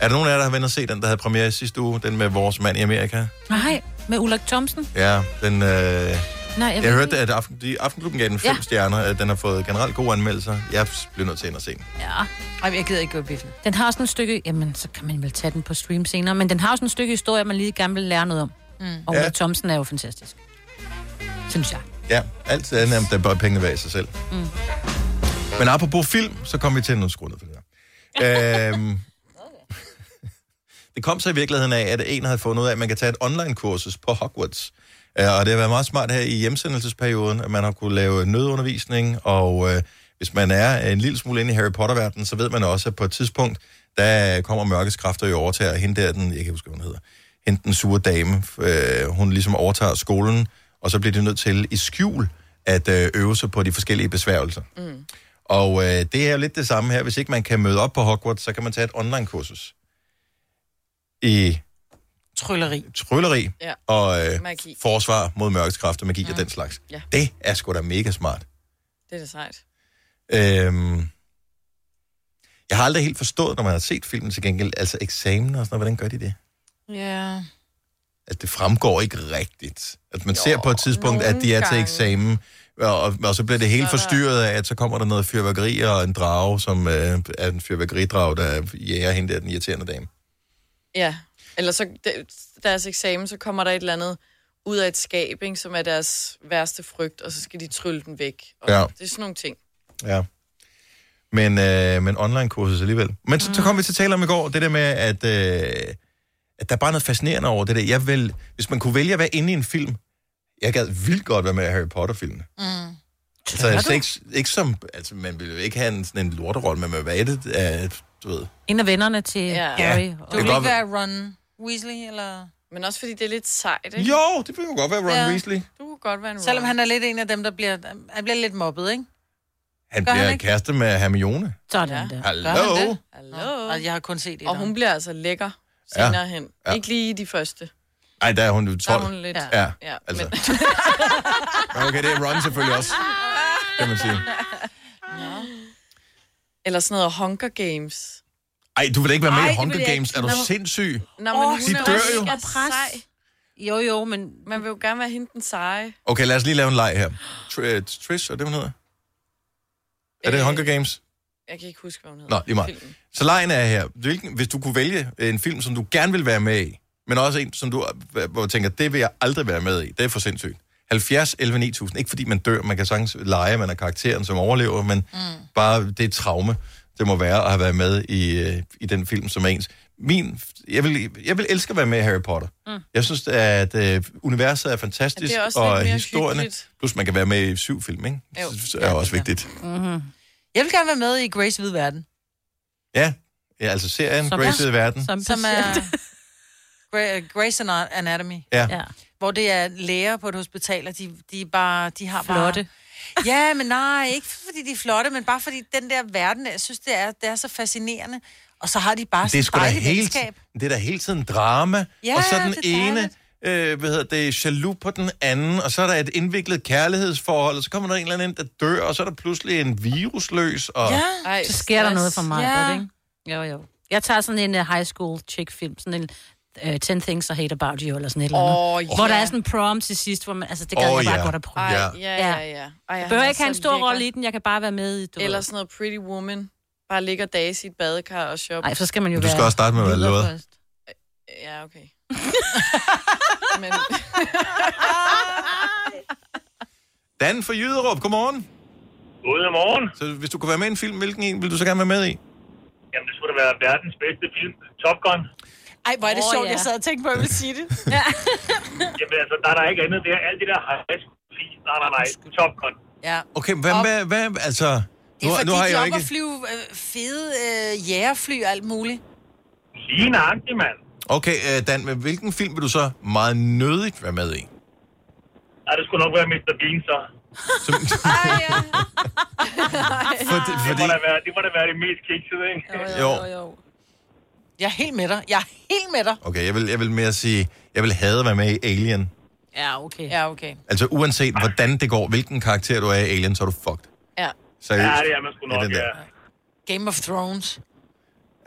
S1: Er der nogen af jer, der har været og se den, der havde premiere i sidste uge? Den med vores mand i Amerika?
S2: Nej, med Ulrik Thomsen.
S1: Ja, den... Øh, jeg,
S2: Nej, jeg,
S1: jeg
S2: ved
S1: hørte,
S2: ikke.
S1: at aften, de, Aftenklubben gav den fem
S2: Ja.
S1: ja. stjerner. At den har fået generelt gode anmeldelser. Jeg blev nødt til at ind og se den.
S2: Ja.
S3: Ej, jeg gider ikke gå i biffen.
S2: Den har sådan et stykke... Jamen, så kan man vel tage den på stream senere. Men den har jo sådan et stykke historie, man lige gerne vil lære noget om. Mm. Og
S1: Ja.
S2: ja. Thomsen er jo fantastisk. Synes jeg.
S1: Ja, alt andet er der bare pengene værd i sig selv.
S2: Mm.
S1: Men apropos film, så kom vi til noget skruet for det her. øhm, det kom så i virkeligheden af, at en havde fundet ud af, at man kan tage et online-kursus på Hogwarts. Øh, Og det har været meget smart her i hjemsendelsesperioden, at man har kunne lave nødundervisning, og øh, hvis man er en lille smule inde i Harry Potter-verdenen, så ved man også, at på et tidspunkt, der kommer mørkets kræfter jo overtager hende der, den, jeg kan ikke huske, hvad hun hedder, hende den sure dame, øh, hun ligesom overtager skolen, og så bliver de nødt til i skjul at øh, øve sig på de forskellige besværgelser.
S9: Mm.
S1: Og øh, det er jo lidt det samme her. Hvis ikke man kan møde op på Hogwarts, så kan man tage et online-kursus i
S3: Trylleri.
S1: trylleri
S5: Ja.
S1: og øh,
S5: Magi.
S1: forsvar mod mørkets kræfter, magi mm. og
S5: Mm.
S1: den slags.
S5: Ja.
S1: Det er sgu da mega smart.
S5: Det er da sejt.
S1: Øhm, jeg har aldrig helt forstået, når man har set filmen til gengæld, altså eksamener og sådan noget, hvordan gør de det?
S5: Ja.
S1: Altså, det fremgår ikke rigtigt. At man jo, ser på et tidspunkt, at de er til
S5: gange.
S1: eksamen, og, og, og så bliver det helt
S5: Så er der-
S1: forstyrret af, at så kommer der noget fyrværkeri og en drage, som øh, er en fyrværkeridrage, der jæger hende der, den irriterende dame.
S5: Ja. Eller så de- deres eksamen, så kommer der et eller andet ud af et skab, ikke, som er deres værste frygt, og så skal de trylle den væk. Og
S1: Ja.
S5: Det er sådan nogle ting.
S1: Ja. Men, øh, men online-kursus alligevel. Men så, så kom vi til at tale om i går, det der med, at, øh, at der er bare noget fascinerende over det der. Jeg vil, hvis man kunne vælge at være inde i en film, jeg gad vildt godt være med i Harry Potter-filmene.
S3: Mm.
S1: Så altså, ikke, ikke som, altså, man ville jo ikke have en, sådan en lorterolle, men man var i det, øh, du ved.
S2: En af vennerne til ja. Harry.
S1: Det
S3: Du
S1: kan
S3: vil ikke
S1: godt være-
S3: være Ron Weasley, eller...
S5: Men også fordi det er lidt sejt, ikke?
S1: Jo, det kunne godt være Ron ja. Weasley.
S5: Du kunne godt være en
S3: Selvom han er lidt en af dem, der bliver, han bliver lidt mobbet, ikke?
S1: Han
S3: Gør
S1: Gør
S3: han
S1: bliver
S3: ikke?
S1: kæreste med Hermione.
S2: Sådan der.
S1: Hallo.
S5: Hallo.
S3: Og jeg har kun set et
S5: Og hun bliver altså lækker
S1: Ja.
S5: senere ja. hen.
S1: Ja.
S5: Ja. Ikke lige i de første.
S1: Ej, der er hun jo 12.
S5: Der er hun lidt.
S1: Ja, ja.
S5: Ja,
S1: altså. Men... okay, det er Ron selvfølgelig også, kan man sige.
S5: Eller sådan noget Hunger Games.
S1: Ej, du vil da ikke være med
S5: Ej,
S1: Ej, i
S5: det
S1: Hunger
S5: vil jeg
S1: Games.
S5: ikke.
S1: Er du
S5: Nå.
S1: sindssyg?
S5: Nå,
S1: Åh,
S5: men hun
S1: de
S5: er
S1: dør
S5: også
S1: jo.
S5: mega sej.
S2: Jo, jo, men...
S5: Man vil jo gerne være hende den seje.
S1: Okay, lad os lige lave en leg her. Tr- øh, Trish, er det, hun hedder? Er
S5: Øh,
S1: det Hunger Games?
S5: Jeg kan ikke huske, hvad hun hedder.
S1: Nå, lige meget. Så lejen er her. Hvilken, hvis du kunne vælge en film, som du gerne vil være med i, men også en, som du øh, hvor du tænker, det vil jeg aldrig være med i. Det er for sindssygt. 70, 11, 9000. Ikke fordi man dør, man kan sagtens lege, man er karakteren, som overlever, men mm. bare det er traume, det må være at have været med i, øh, i den film, som er ens. Min, jeg, vil, jeg vil elske at være med i Harry Potter. Mm. Jeg synes, at øh, universet er fantastisk,
S3: Ja, det er også
S1: og
S3: lidt mere
S1: historierne,
S3: hyggeligt.
S1: plus man kan være med i syv film, ikke?
S3: Jo.
S1: Det er også vigtigt.
S3: Mm-hmm. Jeg vil gerne være med i Grace Hvide Verden.
S1: Ja, ja altså serien Grace i verden.
S3: Som, som er Gra- Grace Ana- Anatomy.
S1: Ja. Ja.
S3: Hvor det er læger på et hospital, og de, de, er bare, de har
S2: Flotte.
S3: bare... Ja, men nej, ikke fordi de er flotte, men bare fordi den der verden, jeg synes, det er, det er så fascinerende. Og så har de bare
S1: det er
S3: så
S1: sgu da
S3: dejligt
S1: hele,
S3: venskab.
S1: det er da hele tiden drama,
S3: Ja,
S1: og så den
S3: det er
S1: ene,
S3: dejligt.
S1: øh, hvad hedder det, jaloux på den anden, og så er der et indviklet kærlighedsforhold, og så kommer der en eller anden ind, der dør, og så er der pludselig en virusløs, og...
S2: Ja,
S5: Ej,
S2: så sker der
S5: stress.
S2: noget for mig,
S5: Ja.
S2: ja. ikke? Jo, jo. Jeg tager sådan en uh, high school chick film, sådan en uh, 10 things I hate about you, eller sådan et eller andet.
S5: Åh, ja.
S2: Hvor der er sådan en prom til sidst, hvor man, altså det kan
S5: Åh,
S2: oh, jeg bare
S5: ja.
S2: godt at prøve.
S5: Ej, ja, ja, ja. Ej,
S2: jeg
S5: han
S2: behøver
S5: er
S2: ikke have en
S5: så
S2: stor
S5: lækker.
S2: rolle i den, jeg kan bare være med i, du
S5: Eller sådan noget Pretty Woman. Bare ligge og dase i et badekar og shoppe.
S2: Nej, så skal man jo
S1: Du
S2: være...
S1: skal også starte med at være
S2: videre
S1: lovet.
S2: først.
S5: Ja, okay. Men...
S1: Dan fra Jyderup, godmorgen.
S9: Godmorgen.
S1: Så hvis du kunne være med i en film, hvilken en vil du så gerne være med i?
S9: Jamen, det skulle da være verdens bedste film, Top Gun.
S3: Ej, hvor er det
S9: Åh,
S3: oh, sjovt,
S9: ja.
S3: ja. jeg sad og tænkte på, at jeg ville sige det.
S9: Jamen, altså, der er der ikke andet. Det er alt det der high school. Nej, nej, nej. Top Gun.
S3: ja.
S1: Okay, hvad, hvad, hvad altså...
S9: Det er
S1: Nu,
S9: fordi,
S1: nu har
S9: de
S1: jeg jo
S9: er
S1: ikke...
S3: Og flyve øh, fede øh, jægerfly og alt muligt.
S9: Lige nøjagtigt, mand.
S1: Okay, øh, Dan, men hvilken film vil du så meget nødigt være med i?
S9: Ja, det skulle nok være Mr. Bean, så.
S1: Fordi,
S9: Det, må da være, det må da være det mest kiksede, ikke?
S1: Jo.
S3: Jeg er helt med dig. Jeg er helt med dig.
S1: Okay, jeg vil, jeg vil mere sige, jeg vil have at være med i Alien.
S3: Ja, okay. Ja, okay.
S1: Altså uanset hvordan det går, hvilken karakter du er i Alien, så er du fucked.
S3: Ja.
S1: Seriøst.
S9: Ja, det er man sgu nok,
S1: den der.
S9: ja.
S3: Game of Thrones.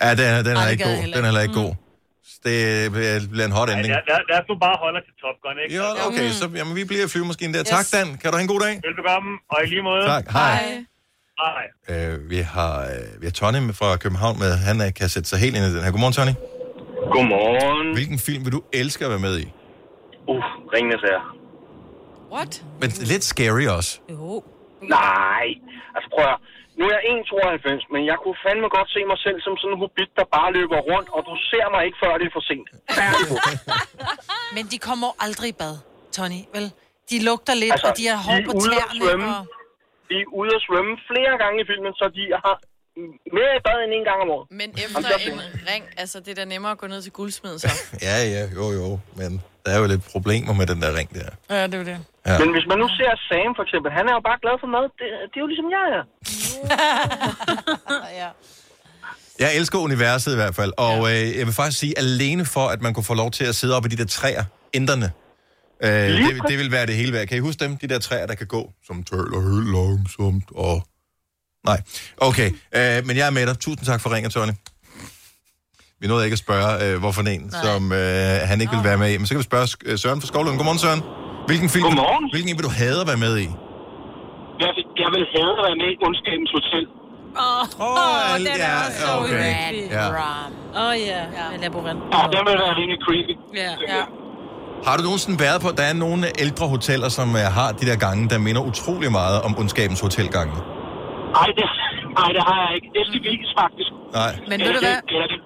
S1: Ja, den er, den
S9: Ej,
S1: er
S9: det
S1: ikke
S9: gad jeg
S1: god.
S9: heller
S1: Den er heller ikke god. Så Det bliver- bliver en hot
S9: Ej,
S1: ending.
S9: lad, lad, lad os nu bare holde os til Top Gun, ikke?
S1: Jo, okay, så jamen, vi bliver i flyvemaskinen der.
S9: Yes.
S1: Tak, Dan. Kan du have en god dag?
S9: Velbekomme, og i lige måde.
S1: Tak. Hej.
S9: Hej.
S1: Øh, vi, har, øh, vi har Tony med- fra København med. Han øh, kan sætte sig helt ind i den her. Godmorgen, Tony.
S9: Godmorgen.
S1: Hvilken film vil du elske at være med i?
S9: Uh, ringende sager.
S5: What?
S1: Men lidt scary også.
S9: Jo. Nej. Altså prøv at høre. Nu er jeg 1,92, men jeg kunne fandme godt se mig selv som sådan en hobbit, der bare løber rundt, og du ser mig ikke, før det er for sent.
S3: Men de kommer jo aldrig i bad, Tony, vel? De lugter lidt, altså, og de har hår
S9: de er
S3: på
S9: ude at svømme.
S3: tæerne. Og...
S9: De er ude at svømme flere gange i filmen, så de har mere i bad end en gang om året.
S5: Men efter en ring, altså det er da nemmere at gå ned til guldsmeden så.
S1: Ja, ja, jo, jo. Men der er jo lidt problemer med den der ring der.
S3: Ja, det er det.
S1: Ja.
S9: Men hvis man nu ser Sam for eksempel, han er jo bare glad for mad. Det, det er jo ligesom jeg er.
S1: Jeg elsker universet i hvert fald, og øh, jeg vil faktisk sige, alene for, at man kunne få lov til at sidde oppe i de der træer, ænderne, øh, det, det vil være det hele værd. Kan I huske dem, de der træer, der kan gå, som tøller helt langsomt, og... Nej, okay, øh, men jeg er med dig. Tusind tak for ringen, Tony. Vi nåede ikke at spørge, øh, hvorfor en, Nej. som øh, han ikke vil være med i. Men så kan vi spørge øh, Søren fra Skovlund. Godmorgen, Søren. Hvilken film, Godmorgen. Hvilken en vil du have at være med i?
S11: Jeg, vil- jeg vil have at være med i Undskabens Hotel.
S2: Åh, oh, oh, den er
S1: ja,
S2: også så
S1: okay.
S2: uhyggelig.
S1: Ja.
S2: Åh, oh, ja. Med laborant.
S11: Ja, den vil være rimelig creepy.
S2: Ja.
S11: ja.
S1: Har du nogensinde været på, at der er nogle ældre hoteller, som øh, har de der gange, der minder utrolig meget om ondskabens hotelgange?
S11: Ej, det, ej, det har jeg ikke. Det skal faktisk.
S1: Nej.
S11: Men ved du hvad? Det, det,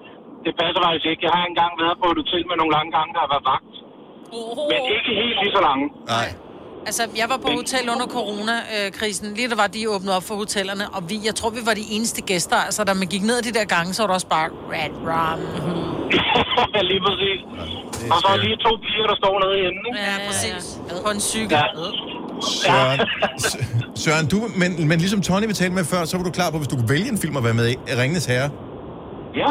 S11: det passer faktisk ikke. Jeg har engang været på et hotel med nogle lange gange, der har været vagt.
S3: Oho.
S11: Men ikke helt lige så lange.
S1: Nej.
S3: Altså, jeg var på hotel under coronakrisen, lige der var de åbnede op for hotellerne, og vi, jeg tror, vi var de eneste gæster. Altså, da man gik ned ad de der gange, så var det også bare red rum.
S11: lige præcis.
S1: Det
S11: Og så er lige to piger, der står nede i enden, ikke?
S3: Ja, præcis. På en cykel.
S1: Søren, S- Søren du, men, men ligesom Tony vi talte med før, så var du klar på, hvis du kunne vælge en film at være med i, Ringenes Herre.
S11: Ja.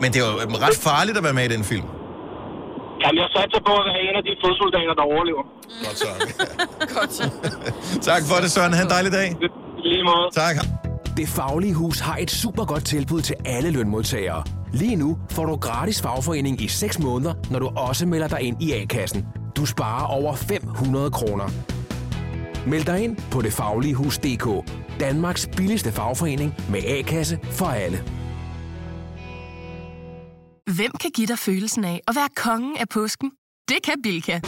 S1: Men det er jo øhm, ret farligt at være med i den film.
S11: Jamen, jeg satser på at være en af de fodsoldater, der overlever.
S1: Godt så. Tak for det, Søren. Ha' en dejlig dag.
S11: Lige måde.
S1: Tak.
S19: Det Faglige Hus har et super godt tilbud til alle lønmodtagere. Lige nu får du gratis fagforening i 6 måneder, når du også melder dig ind i A-kassen. Du sparer over 500 kroner. Meld dig ind på detfagligehus.dk. Danmarks billigste fagforening med A-kasse for alle.
S20: Hvem kan give dig følelsen af at være kongen af påsken? Det kan Bilka!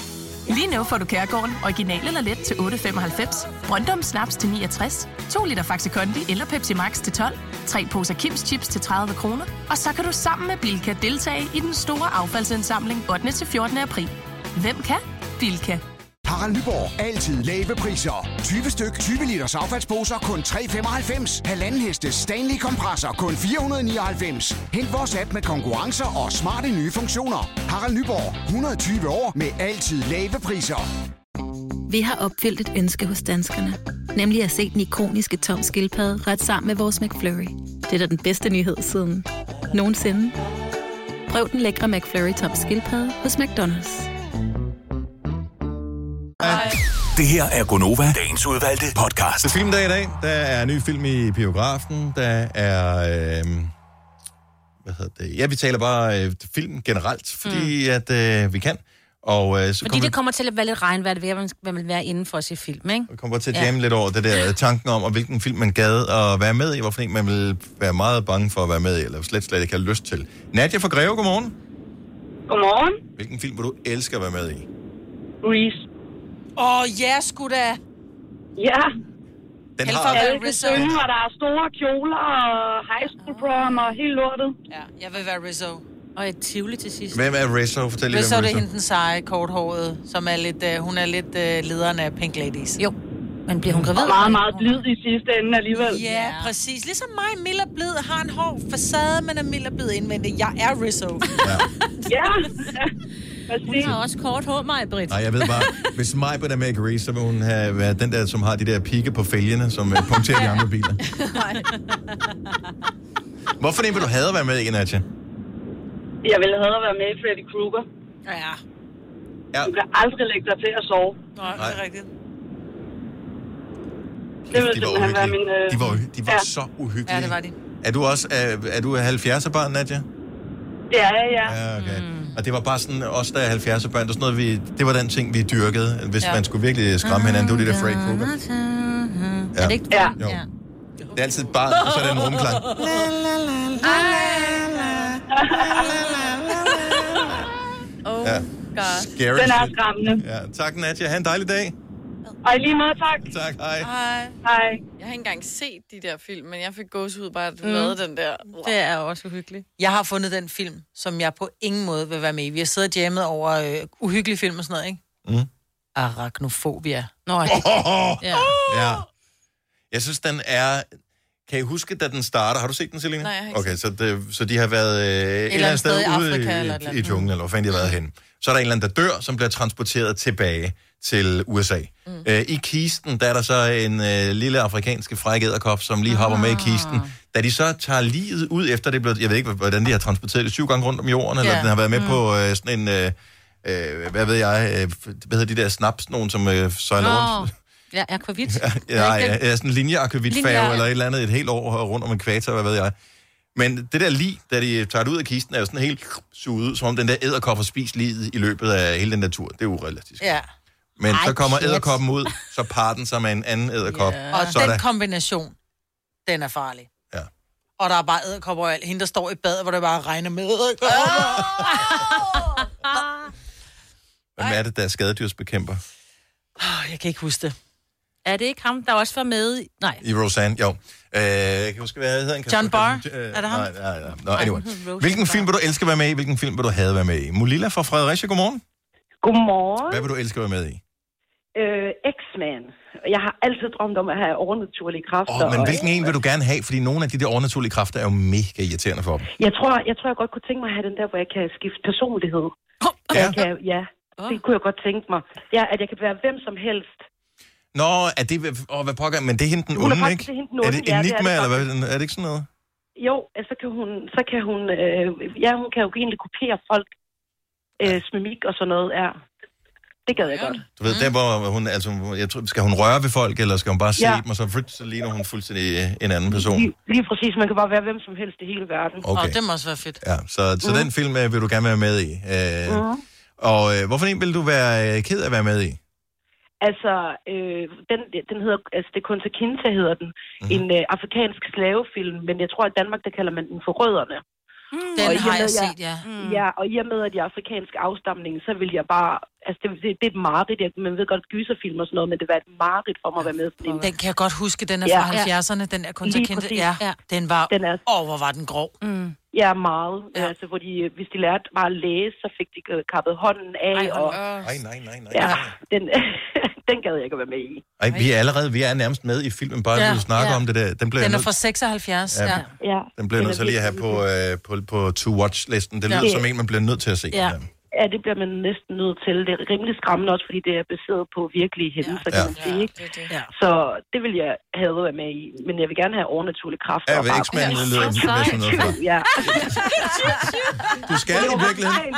S20: Lige nu får du Kærgården original eller let til 8.95, Brøndum Snaps til 69, 2 liter Faxi Kondi eller Pepsi Max til 12, 3 poser Kims Chips til 30 kroner, og så kan du sammen med Bilka deltage i den store affaldsindsamling 8. til 14. april. Hvem kan? Bilka.
S21: Harald Nyborg. Altid lave priser. 20 styk, 20 liters affaldsposer kun 3,95. Halvanden heste Stanley kompresser kun 499. Hent vores app med konkurrencer og smarte nye funktioner. Harald Nyborg. 120 år med altid lave priser.
S12: Vi har opfyldt et ønske hos danskerne. Nemlig at se den ikoniske tom skildpadde ret sammen med vores McFlurry. Det er da den bedste nyhed siden nogensinde. Prøv den lækre McFlurry tom skildpadde hos McDonald's.
S8: Det her er Gonova, dagens udvalgte podcast.
S1: Det er filmdag i dag. Der er ny film i biografen. Der er... Øh, hvad hedder det? Ja, vi taler bare øh, film generelt, fordi mm. at øh, vi kan. Og øh, så
S2: Fordi
S1: kommer
S2: det kommer til at være lidt regnvejr, det vil jeg, man vil være inden for at se film, ikke?
S1: kommer til at jamme lidt over det der øh, tanken om, og hvilken film man gad at være med i, hvorfor en man vil være meget bange for at være med i, eller slet, slet ikke har lyst til. Nadia fra Greve, godmorgen.
S6: Godmorgen.
S1: Hvilken film vil du elske at være med i?
S6: Reese.
S3: Åh, ja, sgu da.
S6: Ja.
S1: Den
S3: Held
S1: har-
S3: for at være
S6: Alle kan
S3: Rizzo.
S6: synge, og der er store kjoler og high school prom og hele lortet.
S3: Ja, jeg vil være Rizzo. Og et tivoli til sidst.
S1: Hvem er Rizzo? Fortæl lige,
S3: Rizzo,
S1: hvem
S3: det
S1: Rizzo
S3: er hende den seje, korthåret, som er lidt, øh, hun er lidt øh, lederen af Pink Ladies. Jo, men bliver hun gravid?
S6: Og meget, meget blid i sidste ende alligevel.
S3: Ja, præcis. Ligesom mig, mild og blid, har en hård facade, men er mild og blid indvendigt. Jeg er Rizzo.
S6: ja.
S4: Hun har også kort hår, mig, Britt.
S1: Nej, jeg ved bare, hvis mig er med i Grease, så vil hun have været den der, som har de der pigge på fælgene, som øh, punkterer de andre biler. Hvorfor den vil du have at være med i, Nadia?
S6: Jeg ville have at være med i Freddy Krueger.
S3: Ja.
S1: ja.
S6: Du kan aldrig lægge dig til at sove.
S3: Nej,
S1: det er
S3: rigtigt.
S6: Det vil
S1: de var
S6: simpelthen være min...
S1: uhyggelige.
S6: Øh...
S1: De var, uhy- de var så uhyggelige.
S6: Ja, det var de.
S1: Er du også er, er du 70'er barn, Nadia?
S6: Det er jeg, ja.
S1: Ja, okay. Og det var bare sådan, os der er 70'er børn, det, var sådan noget, vi, det var den ting, vi dyrkede, hvis
S6: Ja.
S1: ja. man skulle virkelig skræmme hinanden. Det var det der Freddy Krueger. Ja.
S6: Er det ikke ja.
S1: Jo. Det er altid bare, og så er det en rumklang.
S5: Oh
S1: Ja.
S5: god.
S1: Scary
S6: Den er
S1: shit.
S6: skræmmende.
S1: Ja, tak Nadia. Ha' en dejlig dag.
S6: Og i lige måde, tak.
S1: Tak, hej.
S5: Hej.
S6: Hej.
S5: Jeg har ikke engang set de der film, men jeg fik gåsehud bare, at du
S3: Mm.
S5: mm. lavede den der.
S3: Det er også uhyggeligt. Jeg har fundet den film, som jeg på ingen måde vil være med i. Vi har siddet og jammet over øh, uhyggelige film og sådan noget, ikke?
S1: Mm.
S3: Arachnofobia. Nå,
S1: Ja. ja. Jeg synes, den er... Kan I huske, da den starter? Har du set den, Selina?
S5: Nej, jeg har ikke
S1: Okay, så, det, så de har været øh, et eller andet sted,
S5: i
S1: ude
S5: Afrika eller et
S1: i,
S5: eller
S1: i, i
S5: andet.
S1: junglen, eller hvor fanden de har været henne. Så er der en eller anden, der dør, som bliver transporteret tilbage til USA. Mm. Øh, I kisten, der er der så en øh, lille afrikanske frækæderkop, som lige hopper med i kisten. Da de så tager livet ud efter det, er blevet, jeg ved ikke, hvordan de har transporteret det syv gange rundt om jorden, eller
S13: Ja.
S1: den har været med
S13: Mm.
S1: mm. på øh, sådan en, øh, øh, hvad ved jeg, øh, hvad hedder de der snaps, nogen som øh, sejler rundt?
S2: Nå, ja, akvavit.
S1: Ja, ja, ja, sådan en linjeakvavitfærge
S2: Linje-
S1: eller et eller andet et helt år rundt om ekvator, hvad ved jeg. Men det der lig, da de tager det ud af kisten, er jo sådan helt suget ud, som om den der æderkop har spist liget i løbet af hele den natur. Det er urealistisk.
S3: Ja.
S1: Men
S3: Ej,
S1: så kommer
S3: pjat.
S1: æderkoppen ud, så parer den sig med en anden æderkop.
S3: Ja. Og
S1: så er
S3: den
S1: der-
S3: kombination, den er farlig.
S1: Ja.
S3: Og der er bare æderkopper og alt. Hende, der står i badet, hvor det bare regner med æderkopper.
S1: Hvem er det, der er skadedyrsbekæmper?
S3: Oh, jeg kan ikke huske det.
S2: Er det ikke ham, der også var med? i- Nej.
S1: I Roseanne, jo. Øh, jeg kan huske, hvad hedder han? Kan
S2: John
S1: du-
S2: Barr?
S1: Øh,
S2: Er det ham?
S1: Nej, nej, nej. Nå, anyway.
S2: han hed Roseanne
S1: Hvilken film vil du elske at være med i? Hvilken film vil du have været med i? Mulilla fra Fredericia, godmorgen.
S6: Godmorgen.
S1: Hvad vil du elske at være med i?
S6: Øh, X-Man. Jeg har altid drømt om at have overnaturlige kræfter.
S1: Åh, oh, men
S6: og-
S1: hvilken en vil du gerne have? Fordi nogle af de der overnaturlige kræfter er jo mega irriterende for dem.
S6: Jeg tror, jeg tror, jeg godt kunne tænke mig at have den der, hvor jeg kan skifte personlighed. Ja. Jeg kan, ja, det kunne jeg godt tænke mig. Ja, at jeg kan være hvem som helst.
S1: Nå, er det... Åh, hvad pokker... Men det er hende den
S6: Hun er
S1: onde,
S6: faktisk-
S1: ikke?
S6: det er hende den
S1: Er
S6: onde,
S1: det
S6: ja, det er det
S1: enigma, eller
S6: faktisk.
S1: hvad? Er det ikke sådan noget?
S6: Jo, altså, så kan hun, så kan hun, øh, ja, hun kan jo egentlig kopiere folk. Øh, smimik og sådan noget, ja. Det gad jeg godt.
S1: Du ved, mm. der hvor hun... Altså, jeg tror, skal hun røre ved folk, eller skal hun bare se
S6: Ja.
S1: dem, og så, flyt, så ligner hun fuldstændig øh, en anden person?
S6: Lige, lige præcis, man kan bare være hvem som helst i hele verden.
S1: Okay. Åh, det
S6: må også være fedt.
S1: Ja, så, så mm. den film øh, vil du gerne være med i. Øh, mm.
S6: Mm.
S1: Og øh, hvorfor en vil du være øh, ked af at være med i?
S6: Altså, øh, den, den hedder, altså, det er Kunta Kinte hedder den. Mm-hmm. En øh, afrikansk slavefilm, men jeg tror, at i Danmark, der kalder man den for rødderne. Mm.
S2: Den har jeg set, ja. Mm.
S6: Ja, og i og med, at jeg er afrikansk afstamning, så vil jeg bare... Altså, det, det, det er et mareridt. Jeg, man ved godt, gyserfilm og sådan noget, men det var et mareridt for mig at være med. Fordi...
S3: Den kan jeg godt huske, den er fra 70'erne, den der Kunta Kinte. Ja,
S6: den var... Den er... Åh, hvor var den grov. Mm. Ja, meget. Ja. Altså, hvor de, øh, hvis de lærte bare at læse, så fik de øh, kappet hånden af.
S1: Ej, hold
S6: og...
S1: op. Ej, nej, nej, nej.
S6: Ja, den, den gad jeg ikke at være med i.
S1: Ej, vi er allerede vi er nærmest med i filmen, bare ja,
S6: Ja,
S1: du snakker ja.
S6: ja.
S1: om det der. Den bliver
S3: den
S1: jeg
S3: er
S1: nødt-
S3: fra 76.
S1: Ja.
S3: Ja.
S6: ja.
S1: Den bliver jeg nødt til lige at have på, øh, på, på to-watch-listen. Det
S6: Ja.
S1: lyder som en, man bliver nødt til at se.
S6: Ja. ja, det bliver man næsten nødt til. Det er rimelig skræmmende også, fordi det er baseret på virkelige hændelser, ja. kan man
S1: Ja.
S6: sige. Ja, det det. Så det vil jeg have været med i. Men jeg vil gerne have overnaturlige kræfter.
S1: Ja,
S6: og
S1: ved
S6: bare-
S1: X-Men lyder det som sådan noget for.
S6: Ja.
S1: Du skal i virkeligheden...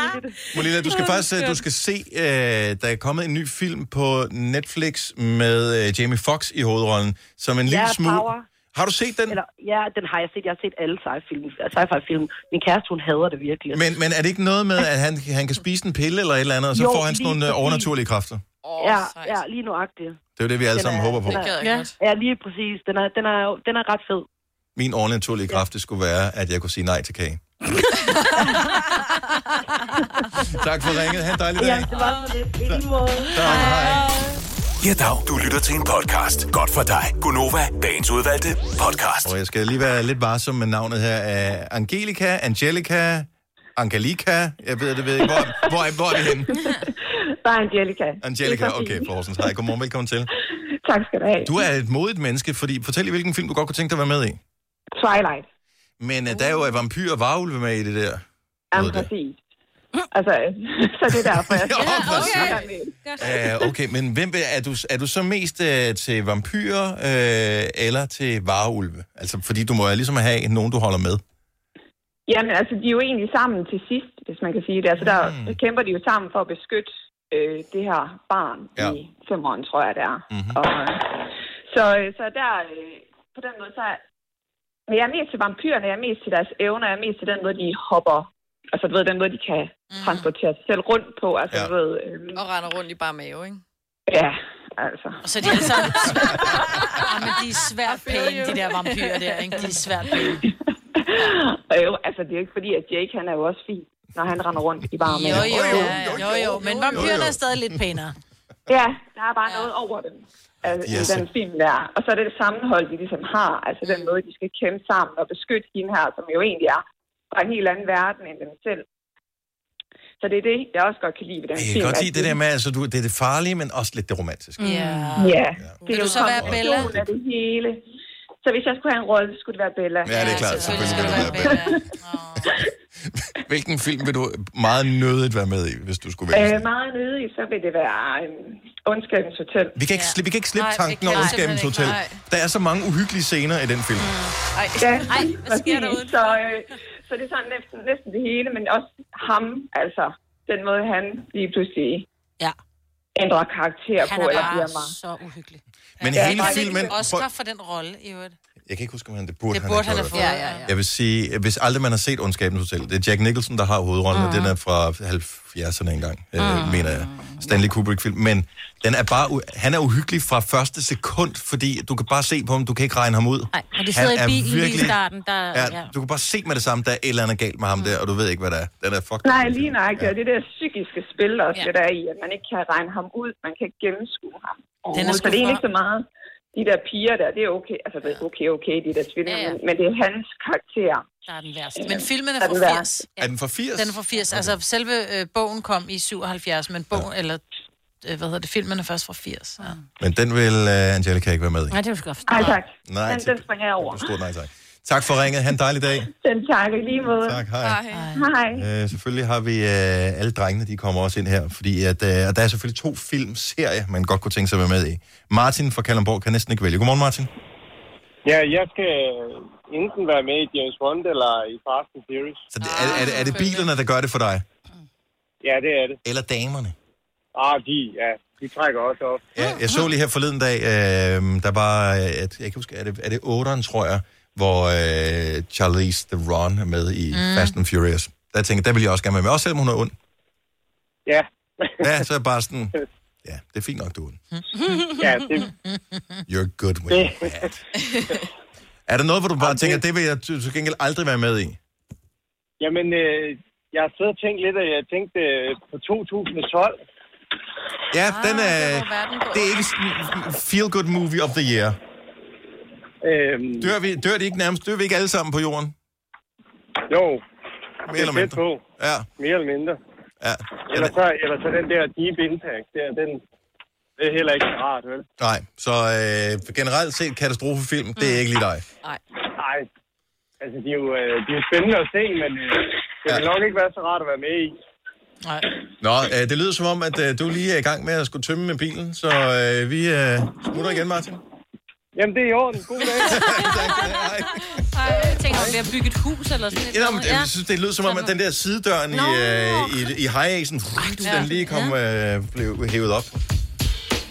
S1: Molina, du skal
S6: Åh,
S1: faktisk øh,
S6: skønt.
S1: du skal se, øh, der er kommet en ny film på Netflix med øh, Jamie Foxx i hovedrollen, som en lille
S6: Ja,
S1: smule...
S6: Power.
S1: Har du set den?
S6: Eller, ja, den har jeg set. Jeg har set alle sci-fi-film. Sci-fi-film. Min kæreste, hun hader det virkelig.
S1: Men, men er det ikke noget med, at han, han kan spise en pille eller et eller andet, og så
S6: Jo,
S1: får han sådan
S6: lige
S1: nogle øh,
S6: præcis.
S1: overnaturlige kræfter? Det
S6: ja, ja, lige nuagtigt.
S1: er jo det, vi alle
S6: Den
S1: sammen
S6: er-
S1: håber på.
S6: den er- Ja, ja, lige præcis. Den er, den er, den er ret fed.
S1: Min overnaturlige kraft, det skulle være, at jeg kunne sige nej til kage. tak for ringet. Ha' en dejlig dag.
S6: Ja, det var så lidt. I lige måde.
S8: Ja, dag. Du lytter til en podcast. Godt for dig. Gunova, dagens udvalgte podcast.
S1: Og jeg skal lige være lidt varsom med navnet her. Øh, Angelica, Angelica, Angelica, jeg ved det, ved ikke. Hvor, hvor, er- hvor er vi henne?
S13: Der er Angelica.
S1: Angelica,
S13: Det er så
S1: okay,
S13: fint.
S1: Florsens. Hej, godmorgen, velkommen til.
S13: Tak skal du have.
S1: Du er et modigt menneske, fordi fortæl lige, hvilken film du godt kunne tænke dig at være med i.
S13: Twilight.
S1: Men uh, der er jo øh, vampyr og varulve med i det der.
S13: Jamen, præcis. Altså, så det er derfor, jeg skal.
S1: Mm. Ja, okay.
S13: okay.
S1: Uh, okay, men hvem vil, er, du, er du så mest uh, til vampyrer uh, eller til varulve? Altså, fordi du må jo ligesom have nogen, du holder med.
S13: Jamen, altså, de er jo egentlig sammen til sidst, hvis man kan sige det. Altså, der mm. kæmper de jo sammen for at beskytte øh, det her barn ja. i femåren, tror jeg, det er.
S1: Mhm.
S13: Mm-hmm. Og, øh, så, øh, så der, øh, på den måde, så er men jeg er mest til vampyrerne, jeg er mest til deres evner, jeg er mest til den måde, de hopper. Altså, du ved, den måde, de kan
S3: Mhm.
S13: transportere sig selv rundt på. Altså, ja. du ved, øh,
S5: Og render rundt i bare mave, ikke?
S13: ja, altså.
S3: Og så er de alle sammen svært. Ja, men de er svært pæne, de der vampyrer der, ikke? De er svært pæne.
S13: Og jo, altså, det er jo ikke fordi, at Jake, han er jo også fin, når han render rundt i Altså, bare
S3: Jo, jo, jo, jo, jo. Men vampyrerne er stadig lidt pænere.
S13: Ja, der er bare ja. noget over dem. Altså,
S6: Yes.
S13: yes. den film der. Og så er det det sammenhold, de ligesom har. Altså den måde, de skal kæmpe sammen og beskytte hende her, som jo egentlig er fra en helt anden verden end dem selv. Så det er det, jeg også godt kan lide ved den
S1: Jeg
S13: film.
S1: kan godt
S13: at
S1: lide det der med, altså, du, det er det farlige, men også lidt det romantiske.
S13: Ja.
S1: Mm.
S13: ja. Det er jo så være Bella? Af det hele. Så hvis jeg skulle have en rolle, så skulle det være Bella.
S1: Ja, det er klart. Selvfølgelig vil du være med. Hvilken film vil du meget nødigt være med i, hvis du skulle vælge?
S13: Øh, meget nødig, så vil det være en ondskabens hotel.
S1: Vi kan ikke, sli- vi kan ikke slippe
S13: Nej, vi
S1: tanken om
S13: kan
S1: Ondskabens Hotel.
S13: simpelthen ikke. Mm.
S1: Der er så mange uhyggelige scener i den film.
S13: Ej, ja, Ej hvad sker der så, øh, så det er sådan næsten, næsten det hele, men også ham, altså den måde, han lige pludselig
S2: ja.
S13: ændrer karakter
S3: Han
S13: på,
S3: er
S13: eller
S3: bare
S13: bliver mig.
S3: så uhyggelig.
S1: Men
S13: Ja,
S1: hele
S13: der er ikke
S1: filmen...
S13: en
S3: Oscar for den rolle, i øvrigt.
S1: Jeg kan ikke huske, om han det burde,
S3: Det burde han
S1: have
S3: have
S1: gjort.
S3: fået. Ja, ja, ja.
S1: Jeg vil sige, hvis aldrig man har set Ondskabens Hotel, det er Jack Nicholson, der har hovedrollen, og
S13: Mhm.
S1: den er fra 70'erne engang, øh, mener jeg. Stanley Kubrick-film. Men den er bare, u- han er uhyggelig fra første sekund, fordi du kan bare se på ham, du kan ikke regne ham ud.
S2: Nej, og de
S1: Han
S2: sidder
S1: er
S2: i
S13: E
S2: bilen virkelig... lige i
S1: virkelig-
S2: starten. Der,
S1: Ja, du kan bare se med det samme, der er et eller andet galt med ham der, og du ved ikke, hvad der er. Den er fucking...
S13: Nej, lige nøjagtigt. Ja. Det der psykiske spil også, ja. det der er i, at man ikke kan regne ham ud, man kan ikke gennemskue ham. Den er så
S6: sgu
S13: det er egentlig ikke
S6: for-
S13: så meget de der piger der, det er okay, altså det er okay, okay, de der tvillinger, ja, ja. men, men det er hans karakter.
S3: Der er den
S13: øh,
S3: værste. Altså, Men filmen er
S13: der
S3: fra
S13: værste.
S3: 80.
S1: Er den fra 80?
S3: Den er fra 80. Altså, selve øh, bogen kom i 77, men bogen, eller øh, hvad hedder det, filmen er først fra 80. Ja.
S1: Men den vil uh, Angelica ikke være med i.
S3: det er jo godt
S13: Nej, tak.
S1: Nej,
S13: den,
S1: til-
S13: den springer jeg over.
S1: Stort nej tak. Tak for ringet. Han en dejlig dag.
S13: Den tak i lige måde.
S1: Tak, hej.
S13: Hej.
S1: Øh, selvfølgelig har vi øh, alle drengene, de kommer også ind her, fordi at, øh, og der er selvfølgelig to filmserier, man godt kunne tænke sig at være med i. Martin fra Kalundborg kan næsten ikke vælge. Godmorgen, Martin.
S11: Ja, jeg skal enten være med i James Bond eller i Fast and Furious.
S1: Så det, er, er, det, er det bilerne, der gør det for dig?
S11: Ja, det er det.
S1: Eller damerne?
S11: Ah, de, ja. De trækker også op.
S1: Ja, jeg så lige her forleden dag, øh, der var, øh, at, jeg kan ikke huske, er det, er det 8'eren, tror jeg, hvor øh, Charlize Theron er med i mm. Fast and Furious. Der tænkte jeg, der vil jeg også gerne være med, også selvom hun er ond.
S11: Ja.
S1: Ja, så er jeg bare sådan, ja, det er fint nok, du er ond.
S11: ja, det,
S1: You're good when
S11: det.
S1: you're bad. Er der noget, hvor du bare tænker, det vil jeg til til gengæld aldrig være med i?
S11: Jamen, øh, jeg har siddet og tænkt lidt, og jeg tænkte øh, på 2012.
S1: Ja, ah, den er, det er ikke sådan feel good movie of the year.
S11: Øhm,
S1: dør, vi, dør de ikke nærmest? Dør vi ikke alle sammen på jorden?
S11: Jo.
S1: Mere eller mindre.
S11: På.
S1: Ja.
S11: Mere eller mindre.
S1: Ja.
S11: Eller så, eller så den der deep impact der, den, det er heller ikke så rart, vel?
S1: Nej, så øh, generelt set katastrofefilm, det er ikke lige dig.
S11: Nej. Nej. Altså, de er jo, øh, de er jo spændende at se, men øh, det vil nok ikke være så rart at være med i.
S3: Nej.
S1: Nå, øh, det lyder som om, at øh, du lige er i gang med at skulle tømme med bilen, så øh, vi øh, smutter igen, Martin.
S11: Jamen, det er i orden. God dag.
S2: Jeg tænker, om vi har bygget et hus eller sådan
S1: Ja, nå, men, jeg synes, det lyder som om, at den der sidedøren i, øh, i, i high-acen, den lige kom, øh, blev hævet op.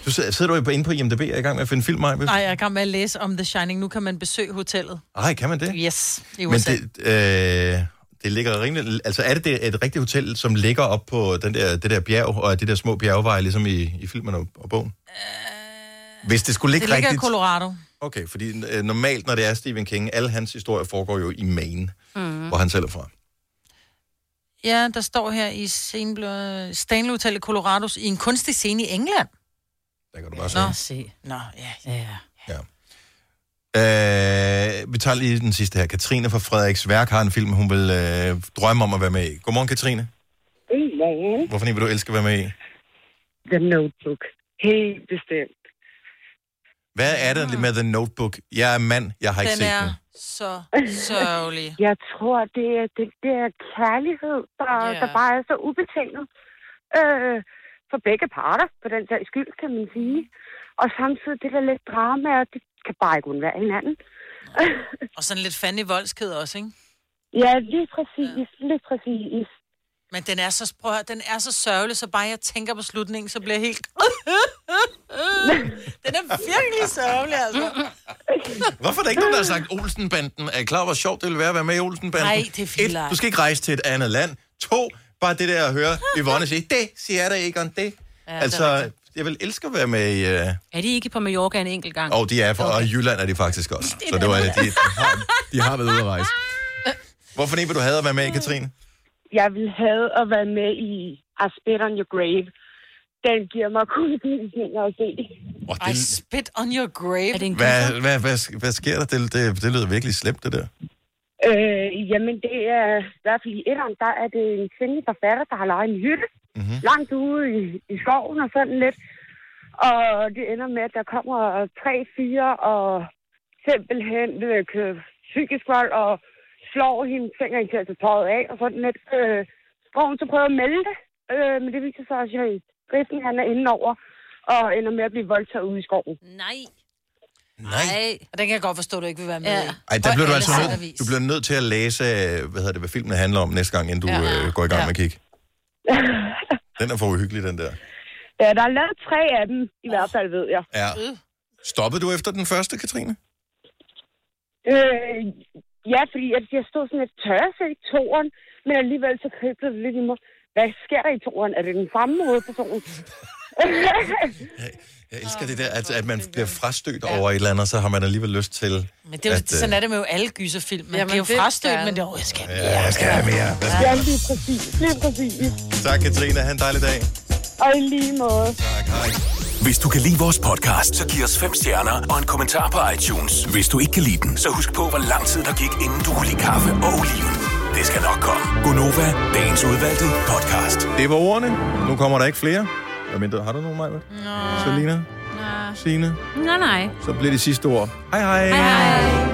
S1: Du sidder, sidder du inde på IMDb, er i gang med at finde film, Maja?
S3: Nej, jeg er i gang med at læse om The Shining. Nu kan man besøge hotellet.
S1: Nej, kan man det?
S3: Yes, i
S1: Men
S3: USA.
S1: det, øh, det ligger rimelig... Altså, er det, det et rigtigt hotel, som ligger op på den der, det der bjerg, og er de der små bjergveje, ligesom i, i filmen og, og bogen? Hvis det skulle
S3: Øh, det
S1: ligge
S3: ligger i
S1: rigtigt...
S3: Colorado.
S1: Okay, fordi øh, normalt, når det er Stephen King, alle hans historier foregår jo i Maine, mm.
S3: Mm.
S1: hvor han selv er fra.
S3: Ja, der står her i Stenblø- Stanley Hotel i Colorado i en kunstig scene i England.
S1: Der kan du bare se.
S3: Nå, se. Nå, ja. ja.
S1: Øh, vi tager lige den sidste her. Katrine fra Frederiks Værk har en film, hun vil øh, drømme om at være med i. Godmorgen, Katrine.
S23: Godmorgen.
S1: Hvorfor vil du elske at være med i?
S23: The Notebook. Helt bestemt.
S1: Hvad er det med The Notebook? Jeg er mand, jeg har ikke set den.
S3: så sørgelig.
S23: Jeg tror, det er den der kærlighed, der,
S3: Ja.
S23: yeah. der bare er så ubetinget. Øh, for begge parter, på den der skyld, kan man sige. Og samtidig det der lidt drama, og det kan bare ikke undvære hinanden.
S3: Og sådan lidt fandig voldsked også, ikke?
S23: ja, lige præcis, ja. lige præcis.
S3: Men den er så, prøv at, høre, den er så sørgelig, så bare jeg tænker på slutningen, så bliver jeg helt... den er virkelig sørgelig, altså.
S1: Hvorfor er der ikke nogen, der har sagt Olsenbanden? Er I klar, hvor sjovt det ville være at være med i Olsenbanden?
S3: Nej, det er vildt.
S1: Et, du skal ikke rejse til et andet land. To, bare det der at høre Yvonne sige, det siger der ikke om det. Ja, altså, det jeg vil elske at være med i... Øh...
S2: Er de ikke på Mallorca en enkelt gang?
S1: Og de er fra, og i Jylland er de faktisk også. Så det var, de, de, har, de har været ude at rejse. Hvorfor en vil du have at være med i, Katrine?
S23: Jeg ville have at være med i I Spit on Your Grave. Den giver mig kun gode at se.
S1: Oh, det,
S3: Spit on your grave. Er det en
S1: hvad, hvad, hvad, hvad sker der? Det, det, det lyder virkelig slemt, det der.
S23: Øh, jamen, det er i hvert fald i etteren, der er det en kvindelig forfatter, der har lejet en hytte
S1: mm-hmm.
S23: langt ude i, i skoven og sådan lidt. Og det ender med, at der kommer tre, fire og simpelthen øh, kø- psykisk vold og slår hende, tvinger hende til at tage tøjet af og sådan lidt. Øh, hvor hun så prøver at melde det, øh, men det viser sig også, at Griffen han er inde over og ender med at blive voldtaget ude i skoven.
S2: Nej.
S3: Nej. Og den kan jeg godt forstå, at du ikke vil være med ja. i.
S1: Ej, der
S3: På
S1: bliver du
S3: alle
S1: altså
S3: sæt og
S1: nødt,
S3: vis.
S1: du bliver nødt til at læse, øh, hvad hedder det, hvad filmen handler om næste gang, inden du
S23: Ja.
S1: ja. øh, går i gang
S23: Ja.
S1: med at kigge. Den er for uhyggelig, den der.
S23: Ja, der er lavet tre af dem, i hvert fald ved jeg.
S1: Ja. Stoppede du efter den første, Katrine?
S23: Øh, ja, fordi jeg, jeg stod sådan lidt tør til i toren, men alligevel så kriblede det lidt i mig. Hvad sker der i toren? Er det den samme hovedperson?
S1: Jeg elsker det der, at, at man bliver frastødt ja. over et eller andet, så har man alligevel lyst til...
S3: Men det er jo,
S1: at, øh,
S3: sådan er det med jo alle gyserfilm. Man
S23: Jamen,
S3: Jamen, bliver
S23: det
S3: jo frastødt,
S23: er-
S3: men det er, oh, jeg skal
S1: øh, Ja, jeg skal have mere. Hvad skal-
S23: ja, lige præcis. Lige præcis.
S1: Tak, Katrine. Ha' en dejlig dag.
S23: Og i lige måde.
S8: Hvis du kan lide vores podcast, så giv os fem stjerner og en kommentar på iTunes. Hvis du ikke kan lide den, så husk på, hvor lang tid der gik, inden du kunne lide kaffe og oliven. Det skal nok komme. Gonova, dagens udvalgte podcast.
S1: Det var ordene. Nu kommer der ikke flere. Jeg mindre, har du nogen, Maja? Selina? Signe?
S2: Nej, nej.
S1: Så bliver det sidste ord. Hej hej. hej, hej.